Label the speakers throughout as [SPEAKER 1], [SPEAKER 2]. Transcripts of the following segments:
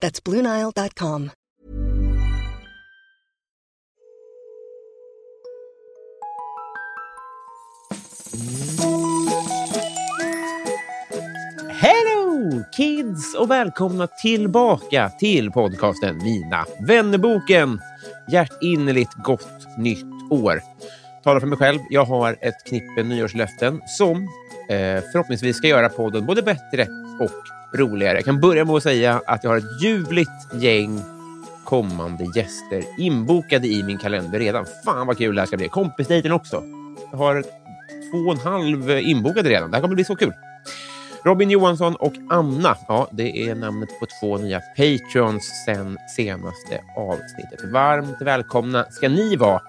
[SPEAKER 1] That's BlueNile.com.
[SPEAKER 2] Hello kids och välkomna tillbaka till podcasten Mina vännerboken. Hjärtinnerligt gott nytt år. Talar för mig själv. Jag har ett knippe nyårslöften som eh, förhoppningsvis ska göra podden både bättre och roligare. Jag kan börja med att säga att jag har ett ljuvligt gäng kommande gäster inbokade i min kalender redan. Fan vad kul det här ska bli. Kompisdejten också. Jag har två och en halv inbokade redan. Det här kommer bli så kul. Robin Johansson och Anna. Ja, det är namnet på två nya Patreons sen senaste avsnittet. Varmt välkomna ska ni vara.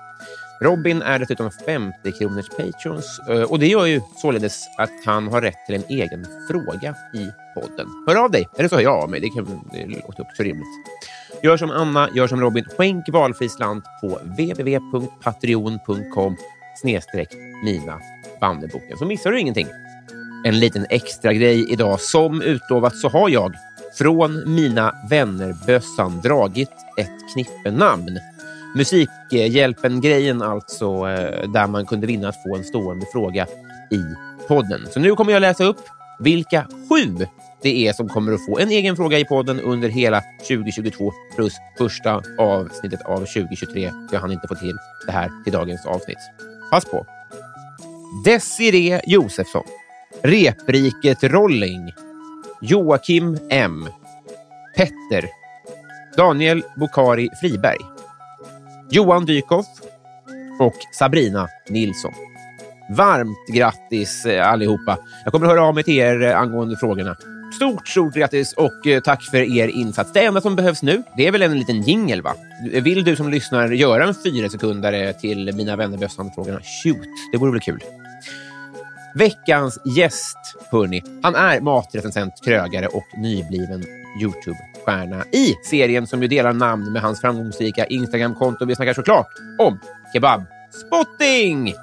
[SPEAKER 2] Robin är dessutom 50 kronors Patreons eh, och det gör ju således att han har rätt till en egen fråga i podden. Hör av dig, eller så hör jag av mig. Det, kan, det låter också rimligt. Gör som Anna, gör som Robin. Skänk valfri slant på www.patreon.com snedstreck mina banderboken så missar du ingenting. En liten extra grej idag. Som utlovat så har jag från Mina vänner-bössan dragit ett knippe namn. Musikhjälpen-grejen alltså, eh, där man kunde vinna att få en stående fråga i podden. Så nu kommer jag läsa upp vilka sju det är som kommer att få en egen fråga i podden under hela 2022 plus första avsnittet av 2023. Jag hann inte få till det här till dagens avsnitt. Pass på! Desiree Josefsson. Repriket Rolling. Joakim M. Petter. Daniel Bokari Friberg. Johan Dykhoff och Sabrina Nilsson. Varmt grattis eh, allihopa. Jag kommer höra av mig till er eh, angående frågorna. Stort, stort grattis och eh, tack för er insats. Det enda som behövs nu, det är väl en liten jingel, va? Vill du som lyssnar göra en fyra sekundare till Mina vänner-bössan-frågorna? Shoot, det vore väl kul. Veckans gäst, hörni. Han är matrecensent, krögare och nybliven YouTube-stjärna i serien som ju delar namn med hans framgångsrika Instagram-konto. Vi snackar såklart om kebab-spotting!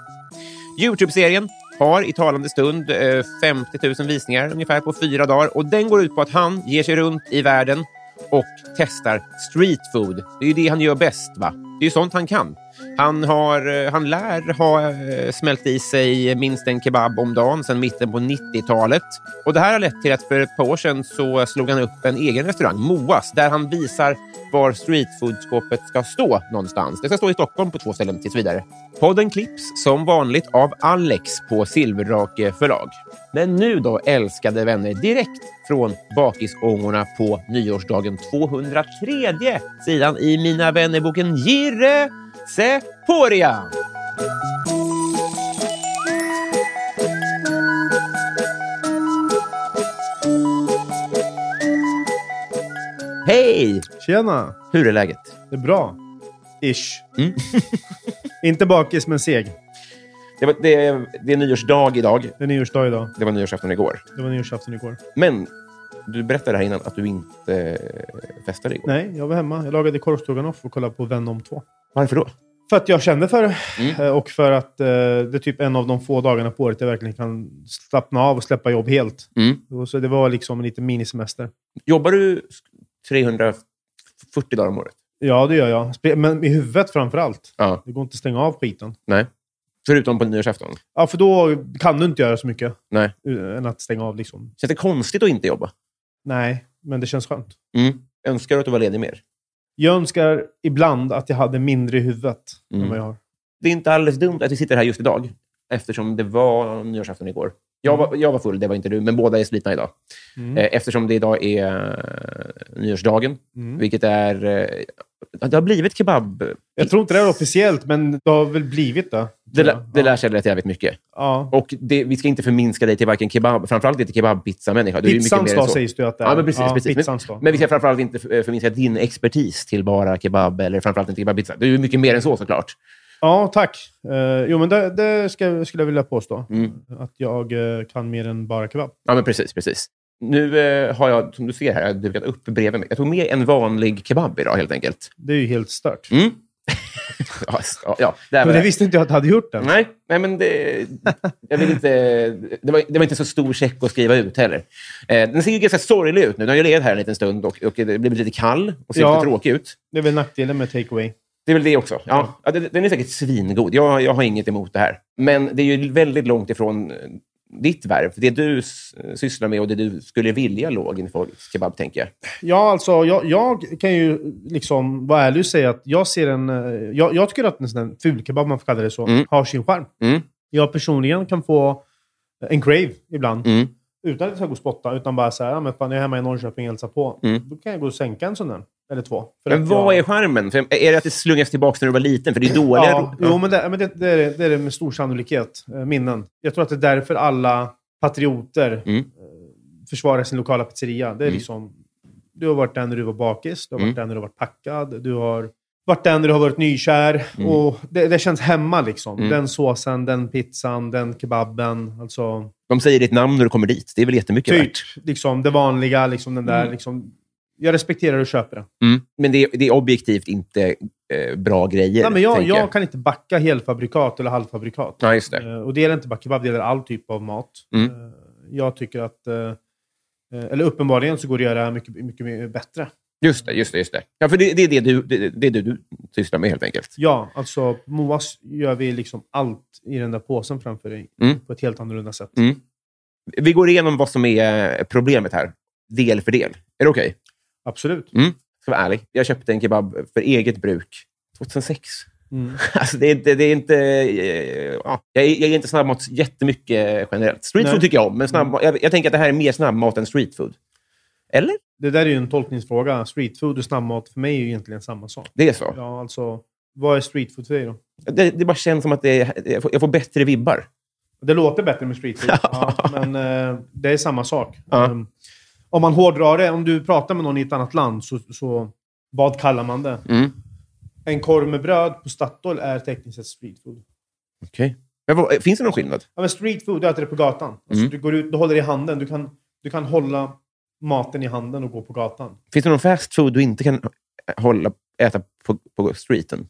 [SPEAKER 2] Youtube-serien har i talande stund eh, 50 000 visningar ungefär på fyra dagar och den går ut på att han ger sig runt i världen och testar street food. Det är ju det han gör bäst, va? Det är ju sånt han kan. Han, har, eh, han lär ha eh, smält i sig minst en kebab om dagen sedan mitten på 90-talet. Och Det här har lett till att för ett par år sedan så slog han upp en egen restaurang, Moas, där han visar var streetfoodskåpet ska stå någonstans. Det ska stå i Stockholm på två ställen tills vidare. Podden klipps som vanligt av Alex på Silverdrake förlag. Men nu då, älskade vänner, direkt från bakisångorna på nyårsdagen 203 sidan i Mina vännerboken Jirre Seporia. Hej!
[SPEAKER 3] Tjena!
[SPEAKER 2] Hur är läget?
[SPEAKER 3] Det är bra. Ish.
[SPEAKER 2] Mm.
[SPEAKER 3] Inte bakis, men seg.
[SPEAKER 2] Det, var, det, det är nyårsdag idag.
[SPEAKER 3] Det är nyårsdag idag.
[SPEAKER 2] Det var nyårsafton igår.
[SPEAKER 3] Det var nyårsafton igår.
[SPEAKER 2] Men du berättade här innan att du inte eh, festade igår.
[SPEAKER 3] Nej, jag var hemma. Jag lagade korvstroganoff och kollade på Venom 2.
[SPEAKER 2] Varför då?
[SPEAKER 3] För att jag kände för det.
[SPEAKER 2] Mm.
[SPEAKER 3] Eh, Och för att eh, det är typ en av de få dagarna på året jag verkligen kan slappna av och släppa jobb helt.
[SPEAKER 2] Mm.
[SPEAKER 3] Och Så det var liksom en liten minisemester.
[SPEAKER 2] Jobbar du 340 dagar om året?
[SPEAKER 3] Ja, det gör jag. Spe- Men i huvudet framför allt.
[SPEAKER 2] Ja.
[SPEAKER 3] Det går inte att stänga av skiten.
[SPEAKER 2] Nej. Förutom på nyårsafton?
[SPEAKER 3] Ja, för då kan du inte göra så mycket
[SPEAKER 2] Nej.
[SPEAKER 3] eh, än att stänga av. liksom.
[SPEAKER 2] Känns det konstigt att inte jobba?
[SPEAKER 3] Nej, men det känns skönt.
[SPEAKER 2] Mm. Önskar du att du var ledig mer?
[SPEAKER 3] Jag önskar ibland att jag hade mindre i huvudet
[SPEAKER 2] Mm.
[SPEAKER 3] än vad jag har.
[SPEAKER 2] Det är inte alldeles dumt att vi sitter här just idag, eftersom det var nyårsafton igår. Jag var, jag var full, det var inte du, men båda är slitna idag.
[SPEAKER 3] Mm.
[SPEAKER 2] Eh, Eftersom det idag är eh, nyårsdagen,
[SPEAKER 3] Mm.
[SPEAKER 2] vilket är... eh, Det har blivit kebab.
[SPEAKER 3] Jag tror inte det är officiellt, men det har väl blivit det.
[SPEAKER 2] Det,
[SPEAKER 3] tror
[SPEAKER 2] lä-
[SPEAKER 3] jag.
[SPEAKER 2] det lär sig rätt jävligt mycket.
[SPEAKER 3] Ja.
[SPEAKER 2] Och det, vi ska inte förminska dig till varken kebab, framförallt inte kebabpizzamänniska. Du är ju mycket
[SPEAKER 3] Pizzans
[SPEAKER 2] mer än
[SPEAKER 3] dag
[SPEAKER 2] så.
[SPEAKER 3] sägs det ju att det är.
[SPEAKER 2] Ja, men precis. precis.
[SPEAKER 3] Pizzans
[SPEAKER 2] men,
[SPEAKER 3] dag.
[SPEAKER 2] men vi ska framförallt inte för- förminska din expertis till bara kebab eller framförallt inte kebabpizza. Du är ju mycket mer än så såklart.
[SPEAKER 3] Ja, tack. Eh, jo, men det, det ska, skulle jag vilja påstå.
[SPEAKER 2] Mm.
[SPEAKER 3] Att jag eh, kan mer än bara kebab.
[SPEAKER 2] Ja, men precis, precis. Nu eh, har jag, som du ser här, jag har dukat upp bredvid mig. Jag tog med en vanlig kebab idag helt enkelt.
[SPEAKER 3] Det är ju helt stört.
[SPEAKER 2] Mm. ja, s- ja, ja, där var
[SPEAKER 3] Men det
[SPEAKER 2] det.
[SPEAKER 3] visste inte jag att jag hade gjort än.
[SPEAKER 2] Nej, nej, men det, jag vill inte, det, var, det var inte så stor check att skriva ut heller. Eh, den ser ju ganska sorglig ut nu. Den har ju legat här en liten stund och, och det blir lite kall och ser
[SPEAKER 3] Ja.
[SPEAKER 2] lite tråkig ut.
[SPEAKER 3] Det är väl nackdelen med takeaway.
[SPEAKER 2] Det är väl det också. Ja, ja, den- den är säkert svingod. Jag, jag har inget emot det här. Men det är ju väldigt långt ifrån eh, ditt värv. Det du s- eh, sysslar med och det du skulle vilja låg inför kebab, tänker jag.
[SPEAKER 3] Ja, alltså, jag, jag kan ju liksom vara ärlig och säga att jag ser en... eh, Jag, jag tycker att en sån där fulkebab, om man får kalla det så,
[SPEAKER 2] Mm.
[SPEAKER 3] har sin charm.
[SPEAKER 2] Mm.
[SPEAKER 3] Jag personligen kan få en crave ibland.
[SPEAKER 2] Mm.
[SPEAKER 3] Utan att jag ska gå och spotta, utan bara så här, ja, men fan, jag är hemma i Norrköping och hälsar på.
[SPEAKER 2] Mm.
[SPEAKER 3] Då kan jag gå och sänka en sån där. Eller två. För
[SPEAKER 2] Men
[SPEAKER 3] att
[SPEAKER 2] vad
[SPEAKER 3] jag-
[SPEAKER 2] är charmen? För är det att det slungas tillbaka när du var liten? För det är dåliga...
[SPEAKER 3] Ja, jo, men, det, men det, det, är, det- det är det med stor sannolikhet. eh, Minnen. Jag tror att det är därför alla patrioter
[SPEAKER 2] Mm.
[SPEAKER 3] eh, försvarar sin lokala pizzeria. Det är liksom, du har varit där när du var bakis, du har varit
[SPEAKER 2] Mm.
[SPEAKER 3] där när du har varit packad, du har varit där när du har varit nykär. Och det, det känns hemma liksom.
[SPEAKER 2] Mm.
[SPEAKER 3] Den såsen, den pizzan, den kebaben. Alltså,
[SPEAKER 2] De säger ditt namn när du kommer dit. Det är väl jättemycket
[SPEAKER 3] typ
[SPEAKER 2] värt?
[SPEAKER 3] liksom, det vanliga, liksom, den där. Liksom, jag respekterar och köper det.
[SPEAKER 2] Mm. Men det, det är objektivt inte eh, bra grejer,
[SPEAKER 3] Nej, men jag,
[SPEAKER 2] tänker
[SPEAKER 3] jag. kan inte backa helfabrikat eller halvfabrikat.
[SPEAKER 2] Ja, just det.
[SPEAKER 3] Eh, Och det gäller inte bara kebab, det gäller all typ av mat.
[SPEAKER 2] Mm.
[SPEAKER 3] Eh, Jag tycker att... eh, eh, Eller uppenbarligen så går det att göra mycket, mycket mer bättre.
[SPEAKER 2] Just det, just det, just det. Ja, för det, det är det du, det, det är det du sysslar med, helt enkelt.
[SPEAKER 3] Ja, alltså på Moas gör vi liksom allt i den där påsen framför dig
[SPEAKER 2] Mm.
[SPEAKER 3] på ett helt annorlunda sätt.
[SPEAKER 2] Mm. Vi går igenom vad som är problemet här, del för del. Är det okej?
[SPEAKER 3] Absolut.
[SPEAKER 2] Ska vara ärlig. Jag köpte en kebab för eget bruk 2006.
[SPEAKER 3] Mm.
[SPEAKER 2] Alltså, det är inte... Det är inte eh, ja. jag, är- jag är inte snabbmat jättemycket generellt. Streetfood
[SPEAKER 3] Nej.
[SPEAKER 2] tycker jag om, men snabbmat, jag, jag tänker att det här är mer snabbmat än streetfood. Eller?
[SPEAKER 3] Det där är ju en tolkningsfråga. Streetfood och snabbmat för mig är ju egentligen samma sak.
[SPEAKER 2] Det är så.
[SPEAKER 3] Ja, alltså, vad är streetfood för dig då?
[SPEAKER 2] Det, det bara känns som att det är, jag, får, jag får bättre vibbar.
[SPEAKER 3] Det låter bättre med streetfood, ja, men eh, det är samma sak.
[SPEAKER 2] Ja.
[SPEAKER 3] Um, om man hårdrar det, om du pratar med någon i ett annat land, så, så vad kallar man det?
[SPEAKER 2] Mm.
[SPEAKER 3] En korv med bröd på Statoil är tekniskt sett streetfood.
[SPEAKER 2] Okej. Men vad, finns det någon skillnad?
[SPEAKER 3] Ja, men streetfood, du äter det på gatan. Alltså,
[SPEAKER 2] Mm.
[SPEAKER 3] Du går ut, du håller i handen. Du kan, du kan hålla maten i handen och gå på gatan.
[SPEAKER 2] Finns det någon fast food du inte kan hålla, äta på, på streeten?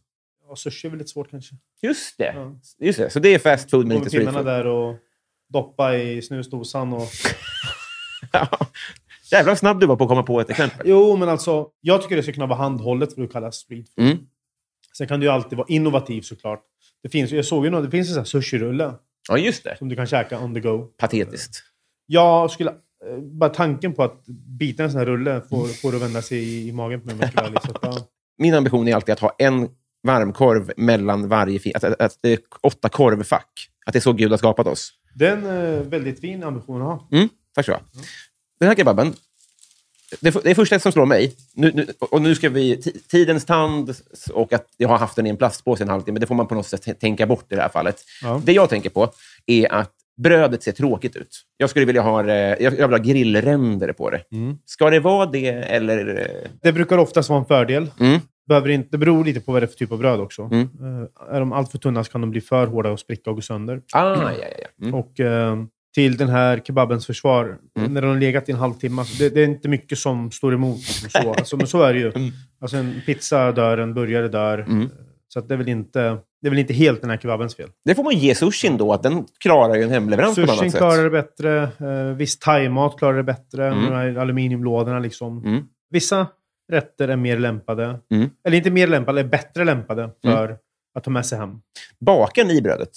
[SPEAKER 3] Ja, sushi är väl lite svårt kanske.
[SPEAKER 2] Just det.
[SPEAKER 3] Ja.
[SPEAKER 2] Just det. Så det är fast food men
[SPEAKER 3] Gå med
[SPEAKER 2] inte street
[SPEAKER 3] pinnarna
[SPEAKER 2] food.
[SPEAKER 3] där och doppa i snusdosan. Och...
[SPEAKER 2] Ja. Jävlar vad snabb du var på att komma på ett exempel.
[SPEAKER 3] Jo, men alltså, jag tycker det ska kunna vara handhållet, för det kallas streetfood.
[SPEAKER 2] Mm.
[SPEAKER 3] Sen kan du ju alltid vara innovativ såklart. Det finns, jag såg ju någon, det finns en sån här sushirulle
[SPEAKER 2] Ja, just det.
[SPEAKER 3] som du kan käka on the go.
[SPEAKER 2] Patetiskt.
[SPEAKER 3] Jag skulle... eh, Bara tanken på att bita en sån här rulle får, får det att vända sig i, i magen på mig. om jag ska vara ärlig. Så att, ja.
[SPEAKER 2] Min ambition är alltid att ha en varmkorv mellan varje... Fin- att, att, att det är åtta korvfack. Att det är så Gud har skapat oss.
[SPEAKER 3] Det är en eh, väldigt fin ambition att ha.
[SPEAKER 2] Mm, tack ska du ha. Den här kebaben. Det, det är första som slår mig. Nu, nu, och nu ska vi... ti- Tidens tand och att jag har haft den i en plastpåse i en halvtimme, det får man på något sätt tänka bort i det här fallet.
[SPEAKER 3] Ja.
[SPEAKER 2] Det jag tänker på är att brödet ser tråkigt ut. Jag skulle vilja ha, eh, jag, jag vill ha grillränder på det. Ska det vara det, eller... eh,
[SPEAKER 3] Det brukar oftast vara en fördel.
[SPEAKER 2] Mm.
[SPEAKER 3] Behöver inte, det beror lite på vad det är för typ av bröd också.
[SPEAKER 2] Mm.
[SPEAKER 3] Eh, är de allt för tunna så kan de bli för hårda och spricka och gå sönder.
[SPEAKER 2] Ah, ja, ja, ja. Mm.
[SPEAKER 3] Och eh, till den här kebabens försvar, när den har legat i en halvtimme, alltså, det, det är inte mycket som står emot. Liksom, så. Alltså, men så är det ju. Alltså, en pizza dör, en burgare dör.
[SPEAKER 2] Mm.
[SPEAKER 3] Så att det, är väl inte, det är väl inte helt den här kebabens fel.
[SPEAKER 2] Det får man ge sushin då, att den klarar ju en hemleverans på något
[SPEAKER 3] Sushin
[SPEAKER 2] annat sätt.
[SPEAKER 3] klarar det bättre. Eh, viss thaimat klarar det bättre.
[SPEAKER 2] Mm.
[SPEAKER 3] De här aluminiumlådorna liksom.
[SPEAKER 2] Mm.
[SPEAKER 3] Vissa rätter är mer lämpade.
[SPEAKER 2] Mm.
[SPEAKER 3] Eller inte mer lämpade, är bättre lämpade för att ta med sig hem.
[SPEAKER 2] Baken i brödet.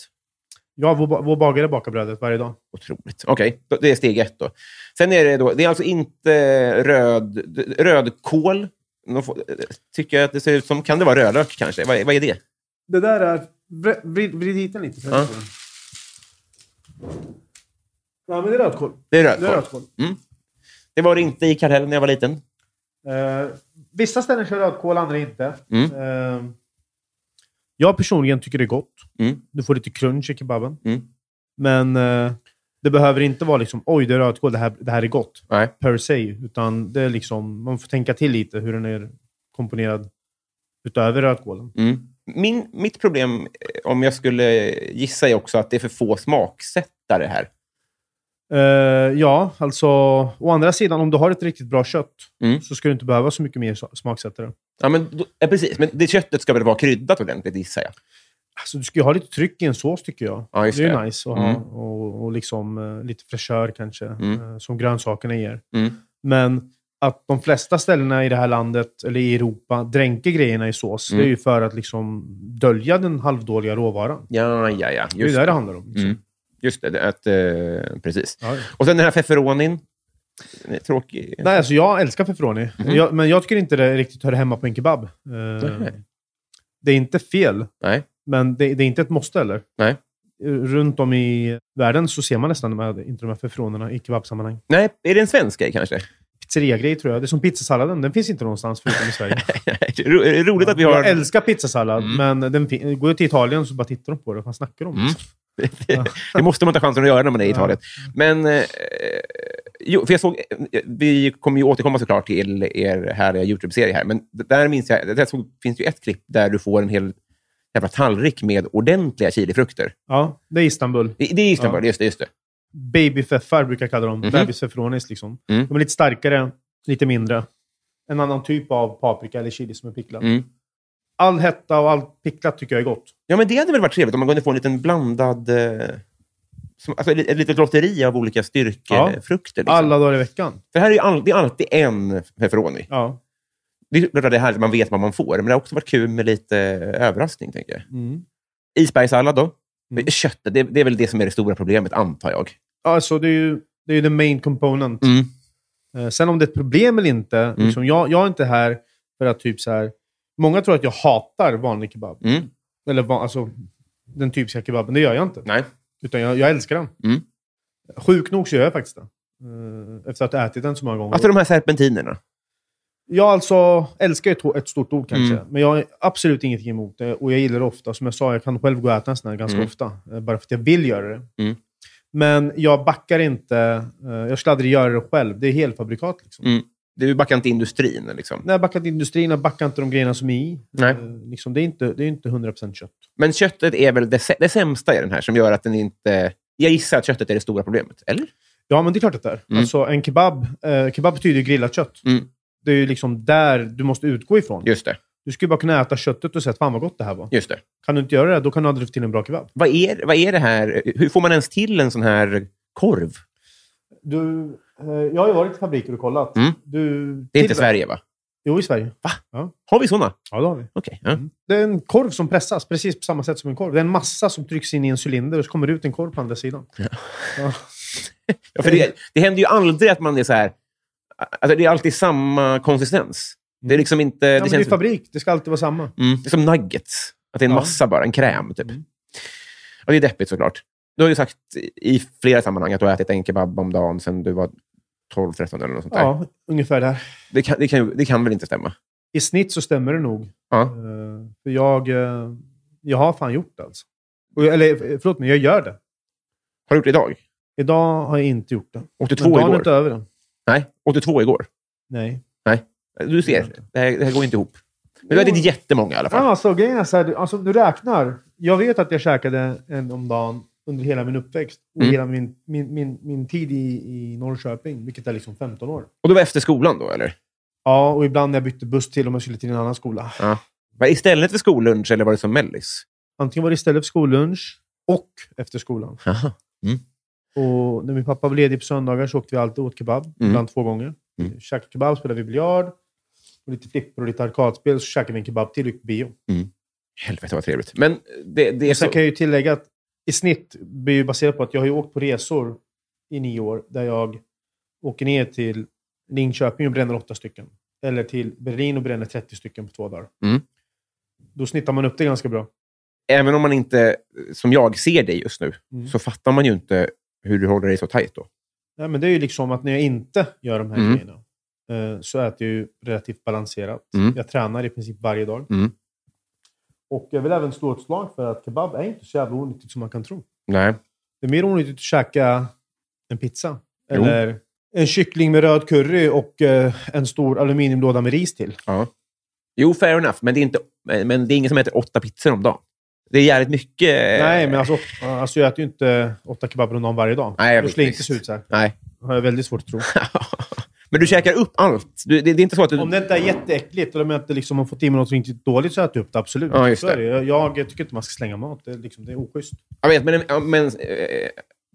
[SPEAKER 3] Ja, vår, ba- vår bagare bakar brödet varje dag.
[SPEAKER 2] Otroligt. Okej, då- det är steg ett. Då. Sen är det, då, det är alltså inte röd, rödkål Någon få- eh, tycker jag att det ser ut som... Kan det vara rödlök kanske? Vad, vad är det?
[SPEAKER 3] Det där är... vr- Vrid, vrid hit den lite. så
[SPEAKER 2] Ja.
[SPEAKER 3] jag får den. Ja, men det är rödkål.
[SPEAKER 2] Det är rödkål.
[SPEAKER 3] Det, är rödkål.
[SPEAKER 2] Det var det inte i Kallhäll när jag var liten.
[SPEAKER 3] Eh, vissa ställen kör rödkål, andra inte.
[SPEAKER 2] Mm.
[SPEAKER 3] Eh, jag personligen tycker det är gott.
[SPEAKER 2] Mm.
[SPEAKER 3] Du får lite crunch i kebaben.
[SPEAKER 2] Mm.
[SPEAKER 3] Men eh, det behöver inte vara liksom oj, det är rödkål, det här, det här är gott.
[SPEAKER 2] Nej.
[SPEAKER 3] Per se. Utan det är liksom, man får tänka till lite hur den är komponerad utöver rödkålen.
[SPEAKER 2] Mm. Min, mitt problem, eh, om jag skulle gissa, är också att det är för få smaksättare här.
[SPEAKER 3] Eh, ja, alltså å andra sidan, om du har ett riktigt bra kött
[SPEAKER 2] Mm.
[SPEAKER 3] så ska du inte behöva så mycket mer sa- smaksättare.
[SPEAKER 2] Ja, men, då- ja, Eh, precis. Men det köttet ska väl vara kryddat ordentligt, gissar jag.
[SPEAKER 3] Alltså, du ska ju ha lite tryck i en sås, tycker jag.
[SPEAKER 2] Ja, just
[SPEAKER 3] det är ju
[SPEAKER 2] det.
[SPEAKER 3] nice att
[SPEAKER 2] Mm.
[SPEAKER 3] ha. Och, och liksom, eh, lite fräschör kanske,
[SPEAKER 2] Mm.
[SPEAKER 3] eh, som grönsakerna ger.
[SPEAKER 2] Mm.
[SPEAKER 3] Men att de flesta ställena i det här landet, eller i Europa, dränker grejerna i sås,
[SPEAKER 2] Mm.
[SPEAKER 3] det är ju för att liksom dölja den halvdåliga råvaran.
[SPEAKER 2] Ja, ja, ja.
[SPEAKER 3] det är ju
[SPEAKER 2] Just
[SPEAKER 3] det
[SPEAKER 2] det.
[SPEAKER 3] det handlar om. Liksom.
[SPEAKER 2] Mm. Just det, det. Att, eh, precis.
[SPEAKER 3] Ja, ja.
[SPEAKER 2] Och sen den här feferonin. Den är Tråkig.
[SPEAKER 3] Nej, alltså jag älskar pepperoni.
[SPEAKER 2] Mm.
[SPEAKER 3] Jag, men jag tycker inte det riktigt hör hemma på en kebab. Eh,
[SPEAKER 2] Nej.
[SPEAKER 3] det är inte fel,
[SPEAKER 2] Nej.
[SPEAKER 3] men det, det är inte ett måste heller.
[SPEAKER 2] Nej.
[SPEAKER 3] Runt om i världen så ser man nästan de här, inte de här förfrånerna i kebabsammanhang.
[SPEAKER 2] Nej, är det en svensk grej kanske?
[SPEAKER 3] Pizzeriagrej tror jag. Det är som pizzasalladen. Den finns inte någonstans förutom i Sverige.
[SPEAKER 2] Det är ro- det är roligt att vi
[SPEAKER 3] Jag
[SPEAKER 2] har...
[SPEAKER 3] älskar pizzasallad, men den fin- går jag till Italien så bara tittar de på det. Vad snackar de om?
[SPEAKER 2] Mm.
[SPEAKER 3] Ja.
[SPEAKER 2] det måste man ta chansen att göra när man är i
[SPEAKER 3] Ja.
[SPEAKER 2] Italien. Men, eh, jo, för jag såg, eh, vi kommer ju återkomma såklart till er härliga YouTube-serie här, men d- där minns jag, där såg, finns ju ett klipp där du får en hel jävla tallrik med ordentliga chilifrukter.
[SPEAKER 3] Ja, det är Istanbul.
[SPEAKER 2] Det, det är Istanbul,
[SPEAKER 3] Ja.
[SPEAKER 2] just det. Just det.
[SPEAKER 3] Babyfeffar brukar jag kalla dem.
[SPEAKER 2] Mhm.
[SPEAKER 3] Bebisfefronis liksom.
[SPEAKER 2] Mm.
[SPEAKER 3] De är lite starkare, lite mindre. En annan typ av paprika eller chili som är picklad.
[SPEAKER 2] Mm. Liksom.
[SPEAKER 3] All hetta och allt picklat tycker jag är gott.
[SPEAKER 2] Ja, men det hade väl varit trevligt om man kunde få en liten blandad... Eh, som, alltså, ett litet lotteri av olika
[SPEAKER 3] Ja.
[SPEAKER 2] styrkefrukter. Liksom.
[SPEAKER 3] Alla dagar i veckan.
[SPEAKER 2] För här är ju all, det är alltid en pepperoni.
[SPEAKER 3] Ja.
[SPEAKER 2] Det är klart att det är härligt att man vet vad man får, men det har också varit kul med lite eh, överraskning, tänker jag.
[SPEAKER 3] Mm.
[SPEAKER 2] Isbergssallad då?
[SPEAKER 3] Mm.
[SPEAKER 2] Köttet, det, det är väl det som är det stora problemet, antar jag.
[SPEAKER 3] Alltså, det är ju det är ju the main component.
[SPEAKER 2] Mm.
[SPEAKER 3] Eh, Sen om det är ett problem eller inte. Liksom, jag, jag är inte här för att typ så här... Många tror att jag hatar vanlig kebab.
[SPEAKER 2] Mm.
[SPEAKER 3] Eller va, alltså, den typiska kebaben. Det gör jag inte.
[SPEAKER 2] Nej.
[SPEAKER 3] Utan jag, jag älskar den.
[SPEAKER 2] Mm.
[SPEAKER 3] Sjuk nog så gör jag faktiskt det. Eh, Efter att ha ätit den så många gånger.
[SPEAKER 2] Alltså de här serpentinerna.
[SPEAKER 3] Jag alltså älskar ju ett, ett stort ord kanske,
[SPEAKER 2] Mm.
[SPEAKER 3] men jag har absolut ingenting emot det. Och jag gillar det ofta. Som jag sa, jag kan själv gå och äta en sån här ganska
[SPEAKER 2] Mm.
[SPEAKER 3] ofta. eh, Bara för att jag vill göra det.
[SPEAKER 2] Mm.
[SPEAKER 3] Men jag backar inte. eh, Jag skulle aldrig göra det själv. Det är helfabrikat. Liksom.
[SPEAKER 2] Mm. Du backar inte industrin. Liksom.
[SPEAKER 3] När jag backar till industrin, jag backar inte de grejerna som är i.
[SPEAKER 2] Nej.
[SPEAKER 3] Eh, Liksom, det, är inte, det är inte 100% kött.
[SPEAKER 2] Men köttet är väl det, sä- det sämsta i den här, som gör att den inte... Jag gissar att köttet är det stora problemet, eller?
[SPEAKER 3] Ja, men det är klart att det är.
[SPEAKER 2] Mm.
[SPEAKER 3] Alltså, en kebab, eh, kebab betyder ju grillat kött.
[SPEAKER 2] Mm.
[SPEAKER 3] Det är ju liksom där du måste utgå ifrån.
[SPEAKER 2] Just det.
[SPEAKER 3] Du skulle bara kunna äta köttet och säga att fan vad gott det här var.
[SPEAKER 2] Just det.
[SPEAKER 3] Kan du inte göra det, då kan du aldrig få till en bra kebab.
[SPEAKER 2] Vad är, vad är det här? Hur får man ens till en sån här korv?
[SPEAKER 3] Du, eh, jag har ju varit i fabriker och kollat.
[SPEAKER 2] Mm.
[SPEAKER 3] Du,
[SPEAKER 2] Det är inte
[SPEAKER 3] tillver-
[SPEAKER 2] Sverige, va?
[SPEAKER 3] Jo, i Sverige.
[SPEAKER 2] Har vi såna?
[SPEAKER 3] Ja, det har vi.
[SPEAKER 2] Okej. ja.
[SPEAKER 3] Det är en korv som pressas, precis på samma sätt som en korv. Det är en massa som trycks in i en cylinder och så kommer det ut en korv på andra sidan. Ja.
[SPEAKER 2] Ja, för
[SPEAKER 3] Eh.
[SPEAKER 2] det, det händer ju aldrig att man är så här... Alltså, det är alltid samma konsistens. Det är liksom inte...
[SPEAKER 3] Ja, men det är
[SPEAKER 2] känns-
[SPEAKER 3] fabrik. Det ska alltid vara samma.
[SPEAKER 2] Mm. Det är som nuggets. Att det är en
[SPEAKER 3] Ja.
[SPEAKER 2] massa bara, en kräm typ.
[SPEAKER 3] Mm.
[SPEAKER 2] Och det är deppigt såklart. Du har ju sagt i flera sammanhang att du har ätit en kebab om dagen sedan du var 12-13 eller något sånt där.
[SPEAKER 3] Ja, ungefär där.
[SPEAKER 2] Det, kan, det, kan, ju- det kan väl inte stämma?
[SPEAKER 3] I snitt så stämmer det nog.
[SPEAKER 2] Ja.
[SPEAKER 3] Eh, För jag, eh, jag har fan gjort det alltså. Och jag, eller eh, förlåt mig, jag gör det.
[SPEAKER 2] Har du gjort det idag?
[SPEAKER 3] Idag har jag inte gjort det. Men
[SPEAKER 2] 82
[SPEAKER 3] dagen är
[SPEAKER 2] igår?
[SPEAKER 3] inte över den.
[SPEAKER 2] Nej, 82 igår.
[SPEAKER 3] Nej.
[SPEAKER 2] Du ser, det här, det här går inte ihop. Men du har ätit jättemånga i alla fall.
[SPEAKER 3] Ja, ah, så grejen är så här, du- alltså, om du räknar. Jag vet att jag käkade en om dagen under hela min uppväxt och
[SPEAKER 2] Mm.
[SPEAKER 3] hela min, min, min, min tid i, i Norrköping, vilket är liksom 15 år.
[SPEAKER 2] Och det var efter skolan då, eller?
[SPEAKER 3] Ja, och ibland när jag bytte buss till om jag skulle till en annan skola.
[SPEAKER 2] Var det Istället för skollunch, eller var det som mellis?
[SPEAKER 3] Antingen var det istället för skollunch och efter skolan.
[SPEAKER 2] Jaha.
[SPEAKER 3] Och när min pappa var ledig på söndagar så åkte vi alltid åt kebab, ibland två gånger.
[SPEAKER 2] Mm.
[SPEAKER 3] Käkade kebab, spelade vi biljard, och lite flipper och lite arkadspel. Så käkade vi en kebab till och gick på bio.
[SPEAKER 2] Helvete vad trevligt. Men det, det är
[SPEAKER 3] Och
[SPEAKER 2] så...
[SPEAKER 3] sen kan jag ju tillägga att i snitt blir ju baserat på att jag har ju åkt på resor i nio år där jag åker ner till Linköping och bränner åtta stycken. eller till Berlin och bränner 30 stycken på två dagar.
[SPEAKER 2] Mm.
[SPEAKER 3] Då snittar man upp det ganska bra.
[SPEAKER 2] Även om man inte, som jag, ser dig just nu,
[SPEAKER 3] Mm.
[SPEAKER 2] så fattar man ju inte hur du håller dig så tajt då.
[SPEAKER 3] Nej, men det är ju liksom att när jag inte gör de här
[SPEAKER 2] Mm.
[SPEAKER 3] grejerna eh, så äter jag ju relativt balanserat.
[SPEAKER 2] Mm.
[SPEAKER 3] Jag tränar i princip varje dag.
[SPEAKER 2] Mm.
[SPEAKER 3] Och jag vill även slå ett slag för att kebab är inte så jävla onyttigt som man kan tro.
[SPEAKER 2] Nej.
[SPEAKER 3] Det är mer onyttigt att käka en pizza.
[SPEAKER 2] Jo.
[SPEAKER 3] Eller en kyckling med röd curry och eh, en stor aluminiumlåda med ris till.
[SPEAKER 2] Ja. Jo, fair enough. Men det, är inte, men men det är ingen som äter åtta pizzor om dagen. Det är jävligt mycket.
[SPEAKER 3] Nej, men alltså, alltså jag äter ju inte åtta kebaber om dagen varje dag.
[SPEAKER 2] Nej, jag
[SPEAKER 3] Då
[SPEAKER 2] vet,
[SPEAKER 3] skulle jag inte
[SPEAKER 2] visst.
[SPEAKER 3] se ut så här.
[SPEAKER 2] Nej.
[SPEAKER 3] har jag väldigt svårt att tro.
[SPEAKER 2] men du käkar upp allt. Du, det, det är inte så att du...
[SPEAKER 3] Om det inte är jätteäckligt eller om jag inte liksom har fått i mig något riktigt dåligt så äter jag upp det, absolut.
[SPEAKER 2] Ja, just
[SPEAKER 3] Så är
[SPEAKER 2] det.
[SPEAKER 3] Jag, jag tycker inte man ska slänga mat. Det är, liksom, det är oschysst.
[SPEAKER 2] Jag vet, men, en- ja, men eh,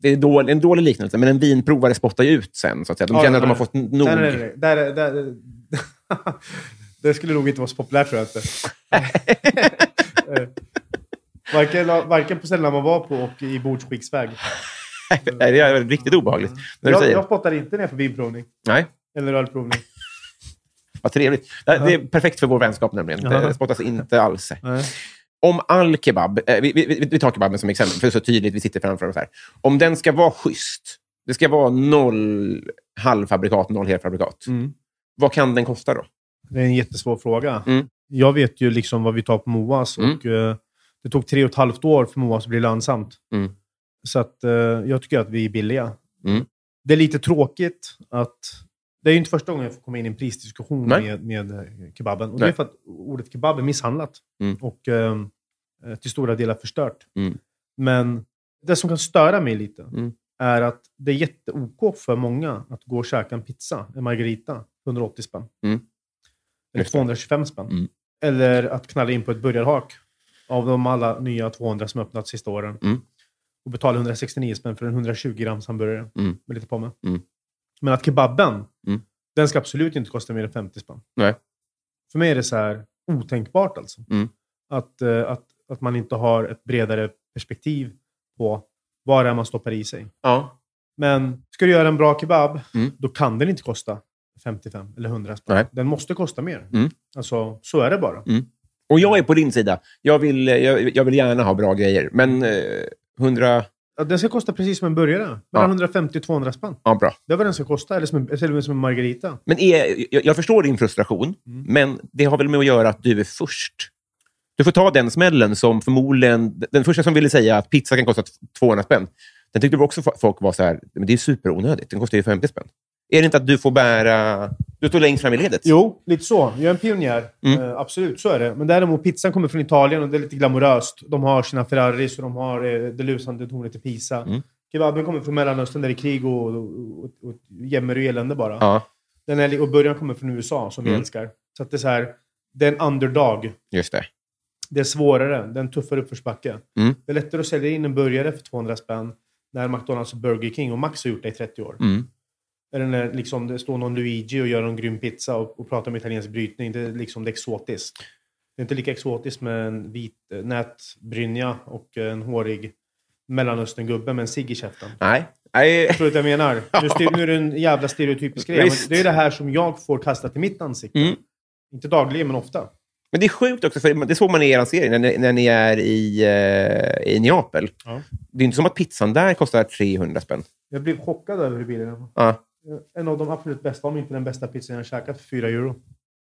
[SPEAKER 2] det är dålig, en dålig liknelse, men en vinprovare spottar ju ut sen. Så att säga. De
[SPEAKER 3] Ja,
[SPEAKER 2] känner
[SPEAKER 3] ja,
[SPEAKER 2] att de har
[SPEAKER 3] ja.
[SPEAKER 2] fått nog.
[SPEAKER 3] Nej, nej, nej, nej. Där, är- där, är- det skulle nog inte vara så populärt, tror jag inte. Eh, varken, varken på ställen man var på och i bordsskicksväg.
[SPEAKER 2] Nej, det är riktigt obehagligt. När du
[SPEAKER 3] Jag,
[SPEAKER 2] säger.
[SPEAKER 3] jag spottar inte ner för vinprovning
[SPEAKER 2] Nej,
[SPEAKER 3] eller ölprovning.
[SPEAKER 2] vad trevligt. Det det är perfekt för vår vänskap nämligen. Det
[SPEAKER 3] Jaha.
[SPEAKER 2] spottas inte alls.
[SPEAKER 3] Nej.
[SPEAKER 2] Om all kebab, eh, vi, vi, vi- vi tar kebaben som exempel, för det är så tydligt, vi sitter framför oss här. Om den ska vara schysst, det ska vara noll halvfabrikat, noll helfabrikat.
[SPEAKER 3] Mm.
[SPEAKER 2] Vad kan den kosta då?
[SPEAKER 3] Det är en jättesvår fråga.
[SPEAKER 2] Mm.
[SPEAKER 3] Jag vet ju liksom vad vi tar på Moas
[SPEAKER 2] Mm.
[SPEAKER 3] och eh, det tog tre och ett halvt år för Moas att bli lönsamt.
[SPEAKER 2] Mm.
[SPEAKER 3] Så att, eh, jag tycker att vi är billiga.
[SPEAKER 2] Mm.
[SPEAKER 3] Det är lite tråkigt att... Det är ju inte första gången jag får komma in i en prisdiskussion
[SPEAKER 2] Nej.
[SPEAKER 3] med, med eh, kebaben. Och det
[SPEAKER 2] Nej.
[SPEAKER 3] är för att ordet kebab är misshandlat
[SPEAKER 2] Mm.
[SPEAKER 3] och eh, till stora delar förstört.
[SPEAKER 2] Mm.
[SPEAKER 3] Men det som kan störa mig lite
[SPEAKER 2] Mm.
[SPEAKER 3] är att det är jätte-OK för många att gå och käka en pizza, en margarita, 180 spänn. Eller
[SPEAKER 2] Just det.
[SPEAKER 3] 225 spänn.
[SPEAKER 2] Mm.
[SPEAKER 3] Eller att knalla in på ett burgarhak av de alla nya 200 som öppnat sista åren.
[SPEAKER 2] Mm.
[SPEAKER 3] Och betala 169 spänn för en 120 grams hamburgare
[SPEAKER 2] Mm.
[SPEAKER 3] med lite pommes.
[SPEAKER 2] Mm.
[SPEAKER 3] Men att kebaben,
[SPEAKER 2] Mm.
[SPEAKER 3] den ska absolut inte kosta mer än 50 spänn.
[SPEAKER 2] Nej.
[SPEAKER 3] För mig är det så här otänkbart alltså.
[SPEAKER 2] Mm.
[SPEAKER 3] Att, eh, att, att man inte har ett bredare perspektiv på vad det är man stoppar i sig.
[SPEAKER 2] Ja.
[SPEAKER 3] Men ska du göra en bra kebab,
[SPEAKER 2] Mm.
[SPEAKER 3] då kan den inte kosta 55 eller 100 spänn.
[SPEAKER 2] Nej.
[SPEAKER 3] Den måste kosta mer.
[SPEAKER 2] Mm.
[SPEAKER 3] Alltså, så är det bara.
[SPEAKER 2] Och jag är på din sida. Jag vill, eh, jag, jag vill gärna ha bra grejer, men
[SPEAKER 3] Mm.
[SPEAKER 2] eh, 100...
[SPEAKER 3] Ja, Den ska kosta precis som en burgare.
[SPEAKER 2] Ja.
[SPEAKER 3] Mellan 150-200 spänn.
[SPEAKER 2] Ja, bra.
[SPEAKER 3] Det är vad den ska kosta. Eller som en, till och med som en margarita.
[SPEAKER 2] Men är, jag, jag förstår din frustration,
[SPEAKER 3] Mm.
[SPEAKER 2] men det har väl med att göra att du är först. Du får ta den smällen som förmodligen... Den första som ville säga att pizza kan kosta 200 spänn, den tyckte väl också fo- folk var så här, men det är superonödigt. Den kostar ju 50 spänn. Är det inte att du får bära... Du står längst fram i ledet?
[SPEAKER 3] Jo, lite så. Jag är en pionjär.
[SPEAKER 2] Mm.
[SPEAKER 3] Eh, absolut, så är det. Men däremot, pizzan kommer från Italien och det är lite glamoröst. De har sina Ferraris och de har eh, det lusande tornet i Pisa.
[SPEAKER 2] Mm.
[SPEAKER 3] Kebaben kommer från Mellanöstern där det är krig och, och, och, och jämmer och elände bara.
[SPEAKER 2] Ja,
[SPEAKER 3] Den är, och början kommer från USA, som
[SPEAKER 2] Mm.
[SPEAKER 3] vi älskar. Så att det är så här, det är en underdog.
[SPEAKER 2] just det.
[SPEAKER 3] Det är svårare. Det är en tuffare uppförsbacke.
[SPEAKER 2] Mm.
[SPEAKER 3] Det är lättare att sälja in en burgare för 200 spänn när McDonalds och Burger King och Max har gjort det i 30 år.
[SPEAKER 2] Mm.
[SPEAKER 3] Eller när liksom, det står någon Luigi och gör en grym pizza och, och pratar om italiensk brytning. Det är liksom det är exotiskt. Det är inte lika exotiskt med en vit eh, nätbrynja och en hårig Mellanösterngubbe med en cigg i käften.
[SPEAKER 2] Nej. Nej.
[SPEAKER 3] Förstår du vad jag menar? Nu, styr, nu är det en jävla stereotypisk grej. Men
[SPEAKER 2] Visst.
[SPEAKER 3] det är det här som jag får kastat i mitt ansikte.
[SPEAKER 2] Mm.
[SPEAKER 3] Inte dagligen, men ofta.
[SPEAKER 2] Men det är sjukt också, för det såg man i er serie, när ni, när ni är i, eh, i Neapel.
[SPEAKER 3] Ja.
[SPEAKER 2] Det är inte som att pizzan där kostar 300 spänn.
[SPEAKER 3] Jag blev chockad över hur billig den var.
[SPEAKER 2] Ja. Alltså,
[SPEAKER 3] En av de absolut bästa, om inte den bästa pizzan jag har käkat, för 4 euro.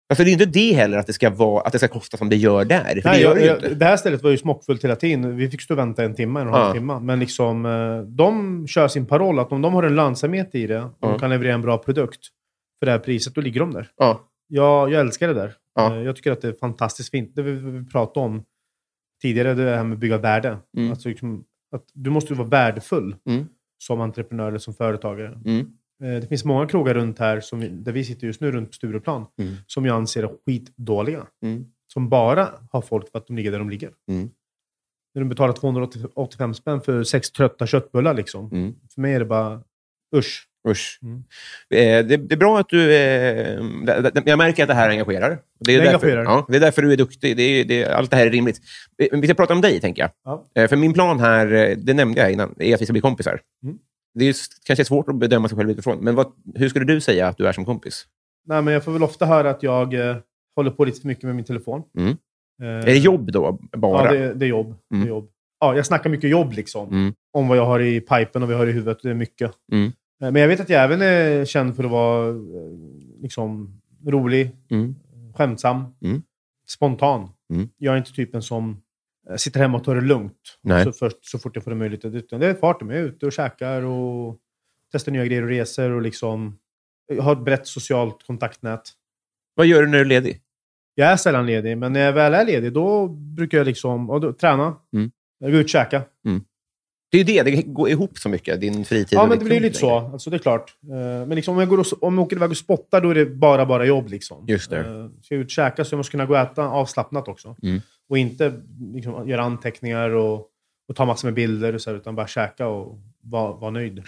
[SPEAKER 2] Alltså, det är inte det heller, att det ska, vara, att det ska kosta som det gör där. För det
[SPEAKER 3] Nej,
[SPEAKER 2] gör
[SPEAKER 3] jag,
[SPEAKER 2] det ju inte.
[SPEAKER 3] jag, det här stället var ju smockfullt hela tiden. Vi fick stå och vänta en timme, en och en
[SPEAKER 2] Ja.
[SPEAKER 3] halv timme. Men liksom, eh, de kör sin paroll att om de har en lönsamhet i det och
[SPEAKER 2] Ja.
[SPEAKER 3] de kan leverera en bra produkt för det här priset, då ligger de där.
[SPEAKER 2] Ja.
[SPEAKER 3] Jag, jag älskar det där.
[SPEAKER 2] Ja.
[SPEAKER 3] Eh, Jag tycker att det är fantastiskt fint. Det vi, vi pratade om tidigare, det här med att bygga värde.
[SPEAKER 2] Mm.
[SPEAKER 3] Alltså liksom, att du måste ju vara värdefull
[SPEAKER 2] Mm.
[SPEAKER 3] som entreprenör eller som företagare.
[SPEAKER 2] Mm.
[SPEAKER 3] Eh, Det finns många krogar runt här, som vi, där vi sitter just nu, runt Stureplan,
[SPEAKER 2] Mm.
[SPEAKER 3] som jag anser är skitdåliga.
[SPEAKER 2] Mm.
[SPEAKER 3] Som bara har folk för att de ligger där de ligger.
[SPEAKER 2] Mm.
[SPEAKER 3] När de betalar 285 spänn för sex trötta köttbullar. Liksom.
[SPEAKER 2] Mm.
[SPEAKER 3] För mig är det bara usch.
[SPEAKER 2] Usch.
[SPEAKER 3] Mm.
[SPEAKER 2] Eh, det, det är bra att du... Eh, det, det, jag märker att det här engagerar. Det är,
[SPEAKER 3] Det
[SPEAKER 2] därför,
[SPEAKER 3] engagerar.
[SPEAKER 2] Ja, det är därför du är duktig. Det är, det, allt det här är rimligt. Eh, men Vi ska prata om dig, tänker jag.
[SPEAKER 3] Ja.
[SPEAKER 2] Eh, för min plan här, eh, det nämnde jag innan, är att vi ska bli kompisar.
[SPEAKER 3] Mm.
[SPEAKER 2] Det är s- kanske svårt att bedöma sig själv utifrån, men vad, hur skulle du säga att du är som kompis?
[SPEAKER 3] Nej, men jag får väl ofta höra att jag eh, håller på lite för mycket med min telefon.
[SPEAKER 2] Mm.
[SPEAKER 3] Eh,
[SPEAKER 2] Är det jobb då, bara?
[SPEAKER 3] Ja, det, det är jobb.
[SPEAKER 2] Mm.
[SPEAKER 3] Det är jobb. Ja, jag snackar mycket jobb liksom.
[SPEAKER 2] Mm.
[SPEAKER 3] Om vad jag har i pipen och vad jag har i huvudet. Det är mycket.
[SPEAKER 2] Mm.
[SPEAKER 3] Eh, Men jag vet att jag även är känd för att vara eh, liksom, rolig,
[SPEAKER 2] Mm.
[SPEAKER 3] skämtsam,
[SPEAKER 2] Mm.
[SPEAKER 3] spontan.
[SPEAKER 2] Mm.
[SPEAKER 3] Jag är inte typen som eh, sitter hemma och tar det lugnt
[SPEAKER 2] Nej.
[SPEAKER 3] så, först, så fort jag får en möjlighet. Utan det är fart med. Jag är ute och käkar och testar nya grejer och reser. Och liksom, jag har ett brett socialt kontaktnät.
[SPEAKER 2] Vad gör du när du är ledig?
[SPEAKER 3] Jag är sällan ledig, men när jag väl är ledig då brukar jag liksom ja, då, träna,
[SPEAKER 2] Mm.
[SPEAKER 3] gå ut och käka.
[SPEAKER 2] Det är ju det, det går ihop så mycket, din fritid
[SPEAKER 3] Ja,
[SPEAKER 2] och
[SPEAKER 3] men
[SPEAKER 2] ditt
[SPEAKER 3] det blir ju lite så.
[SPEAKER 2] jobb.
[SPEAKER 3] Alltså, det är klart. Eh, Men liksom, om, jag går och, om jag åker iväg och spottar, då är det bara, bara jobb. Liksom.
[SPEAKER 2] Just det.
[SPEAKER 3] Eh, Ska jag ut och käka så jag måste kunna gå och äta avslappnat också.
[SPEAKER 2] Mm.
[SPEAKER 3] Och inte liksom, göra anteckningar och, och ta massor med bilder, och så här, utan bara käka och vara vara nöjd.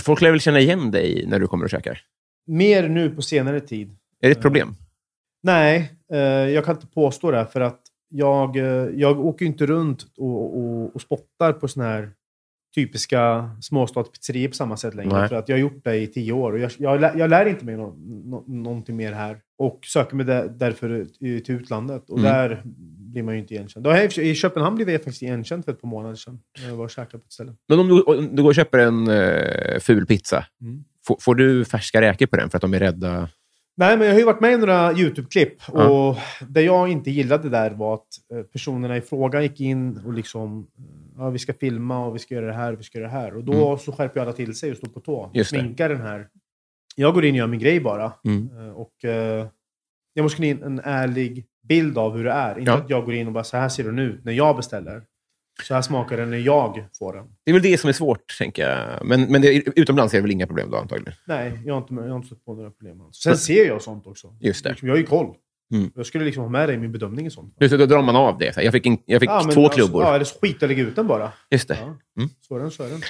[SPEAKER 2] Folk lär väl känna igen dig när du kommer och käkar?
[SPEAKER 3] Mer nu på senare tid.
[SPEAKER 2] Är det ett problem?
[SPEAKER 3] Nej, eh, jag kan inte påstå det här, för att jag, eh, jag åker ju inte runt och, och, och spottar på såna här typiska småstadspizzerior på samma sätt längre.
[SPEAKER 2] Nej.
[SPEAKER 3] För att jag har gjort det i tio år och jag, jag, lär, jag lär inte mig nå- nå- någonting mer här. Och söker mig där, därför ut- till utlandet och
[SPEAKER 2] Mm.
[SPEAKER 3] där blir man ju inte igenkänd. Då har jag, i och för sig- I Köpenhamn blev jag faktiskt igenkänd för ett par månader sedan när jag var och käkade på ett ställe.
[SPEAKER 2] Men om du, om du går och köper en eh, ful pizza,
[SPEAKER 3] Mm.
[SPEAKER 2] får, får du färska räkor på den för att de är rädda?
[SPEAKER 3] Nej, men jag har ju varit med i några YouTube-klipp
[SPEAKER 2] Ja.
[SPEAKER 3] och det jag inte gillade där var att eh, personerna i fråga gick in och liksom ja, vi ska filma och vi ska göra det här och vi ska göra det här. Och då så skärper ju alla till sig och står på tå.
[SPEAKER 2] Mm. Just det.
[SPEAKER 3] Sminkar den här. Jag går in och gör min grej bara.
[SPEAKER 2] Mm.
[SPEAKER 3] Eh, Och eh, jag måste kunna ge en ärlig bild av hur det är. Inte
[SPEAKER 2] Ja.
[SPEAKER 3] att jag går in och bara så här ser den ut när jag beställer. Så här smakar den när jag får den.
[SPEAKER 2] Det är väl det som är svårt, tänker jag. Men, men det, utomlands är det väl inga problem då, antagligen?
[SPEAKER 3] Nej, jag har inte, jag har inte stött på några problem alls. Sen ser jag sånt också.
[SPEAKER 2] Just det.
[SPEAKER 3] Liksom, Jag har ju koll.
[SPEAKER 2] Mm.
[SPEAKER 3] Jag skulle liksom ha med det i min bedömning i sånt.
[SPEAKER 2] Just det, då drar man av det. Så här, Jag fick, en, jag fick
[SPEAKER 3] Ja, men
[SPEAKER 2] två
[SPEAKER 3] alltså,
[SPEAKER 2] klubbor.
[SPEAKER 3] Ja, eller så skit och lägga ut den bara.
[SPEAKER 2] Just det.
[SPEAKER 3] Ja. Svårare än så är det inte.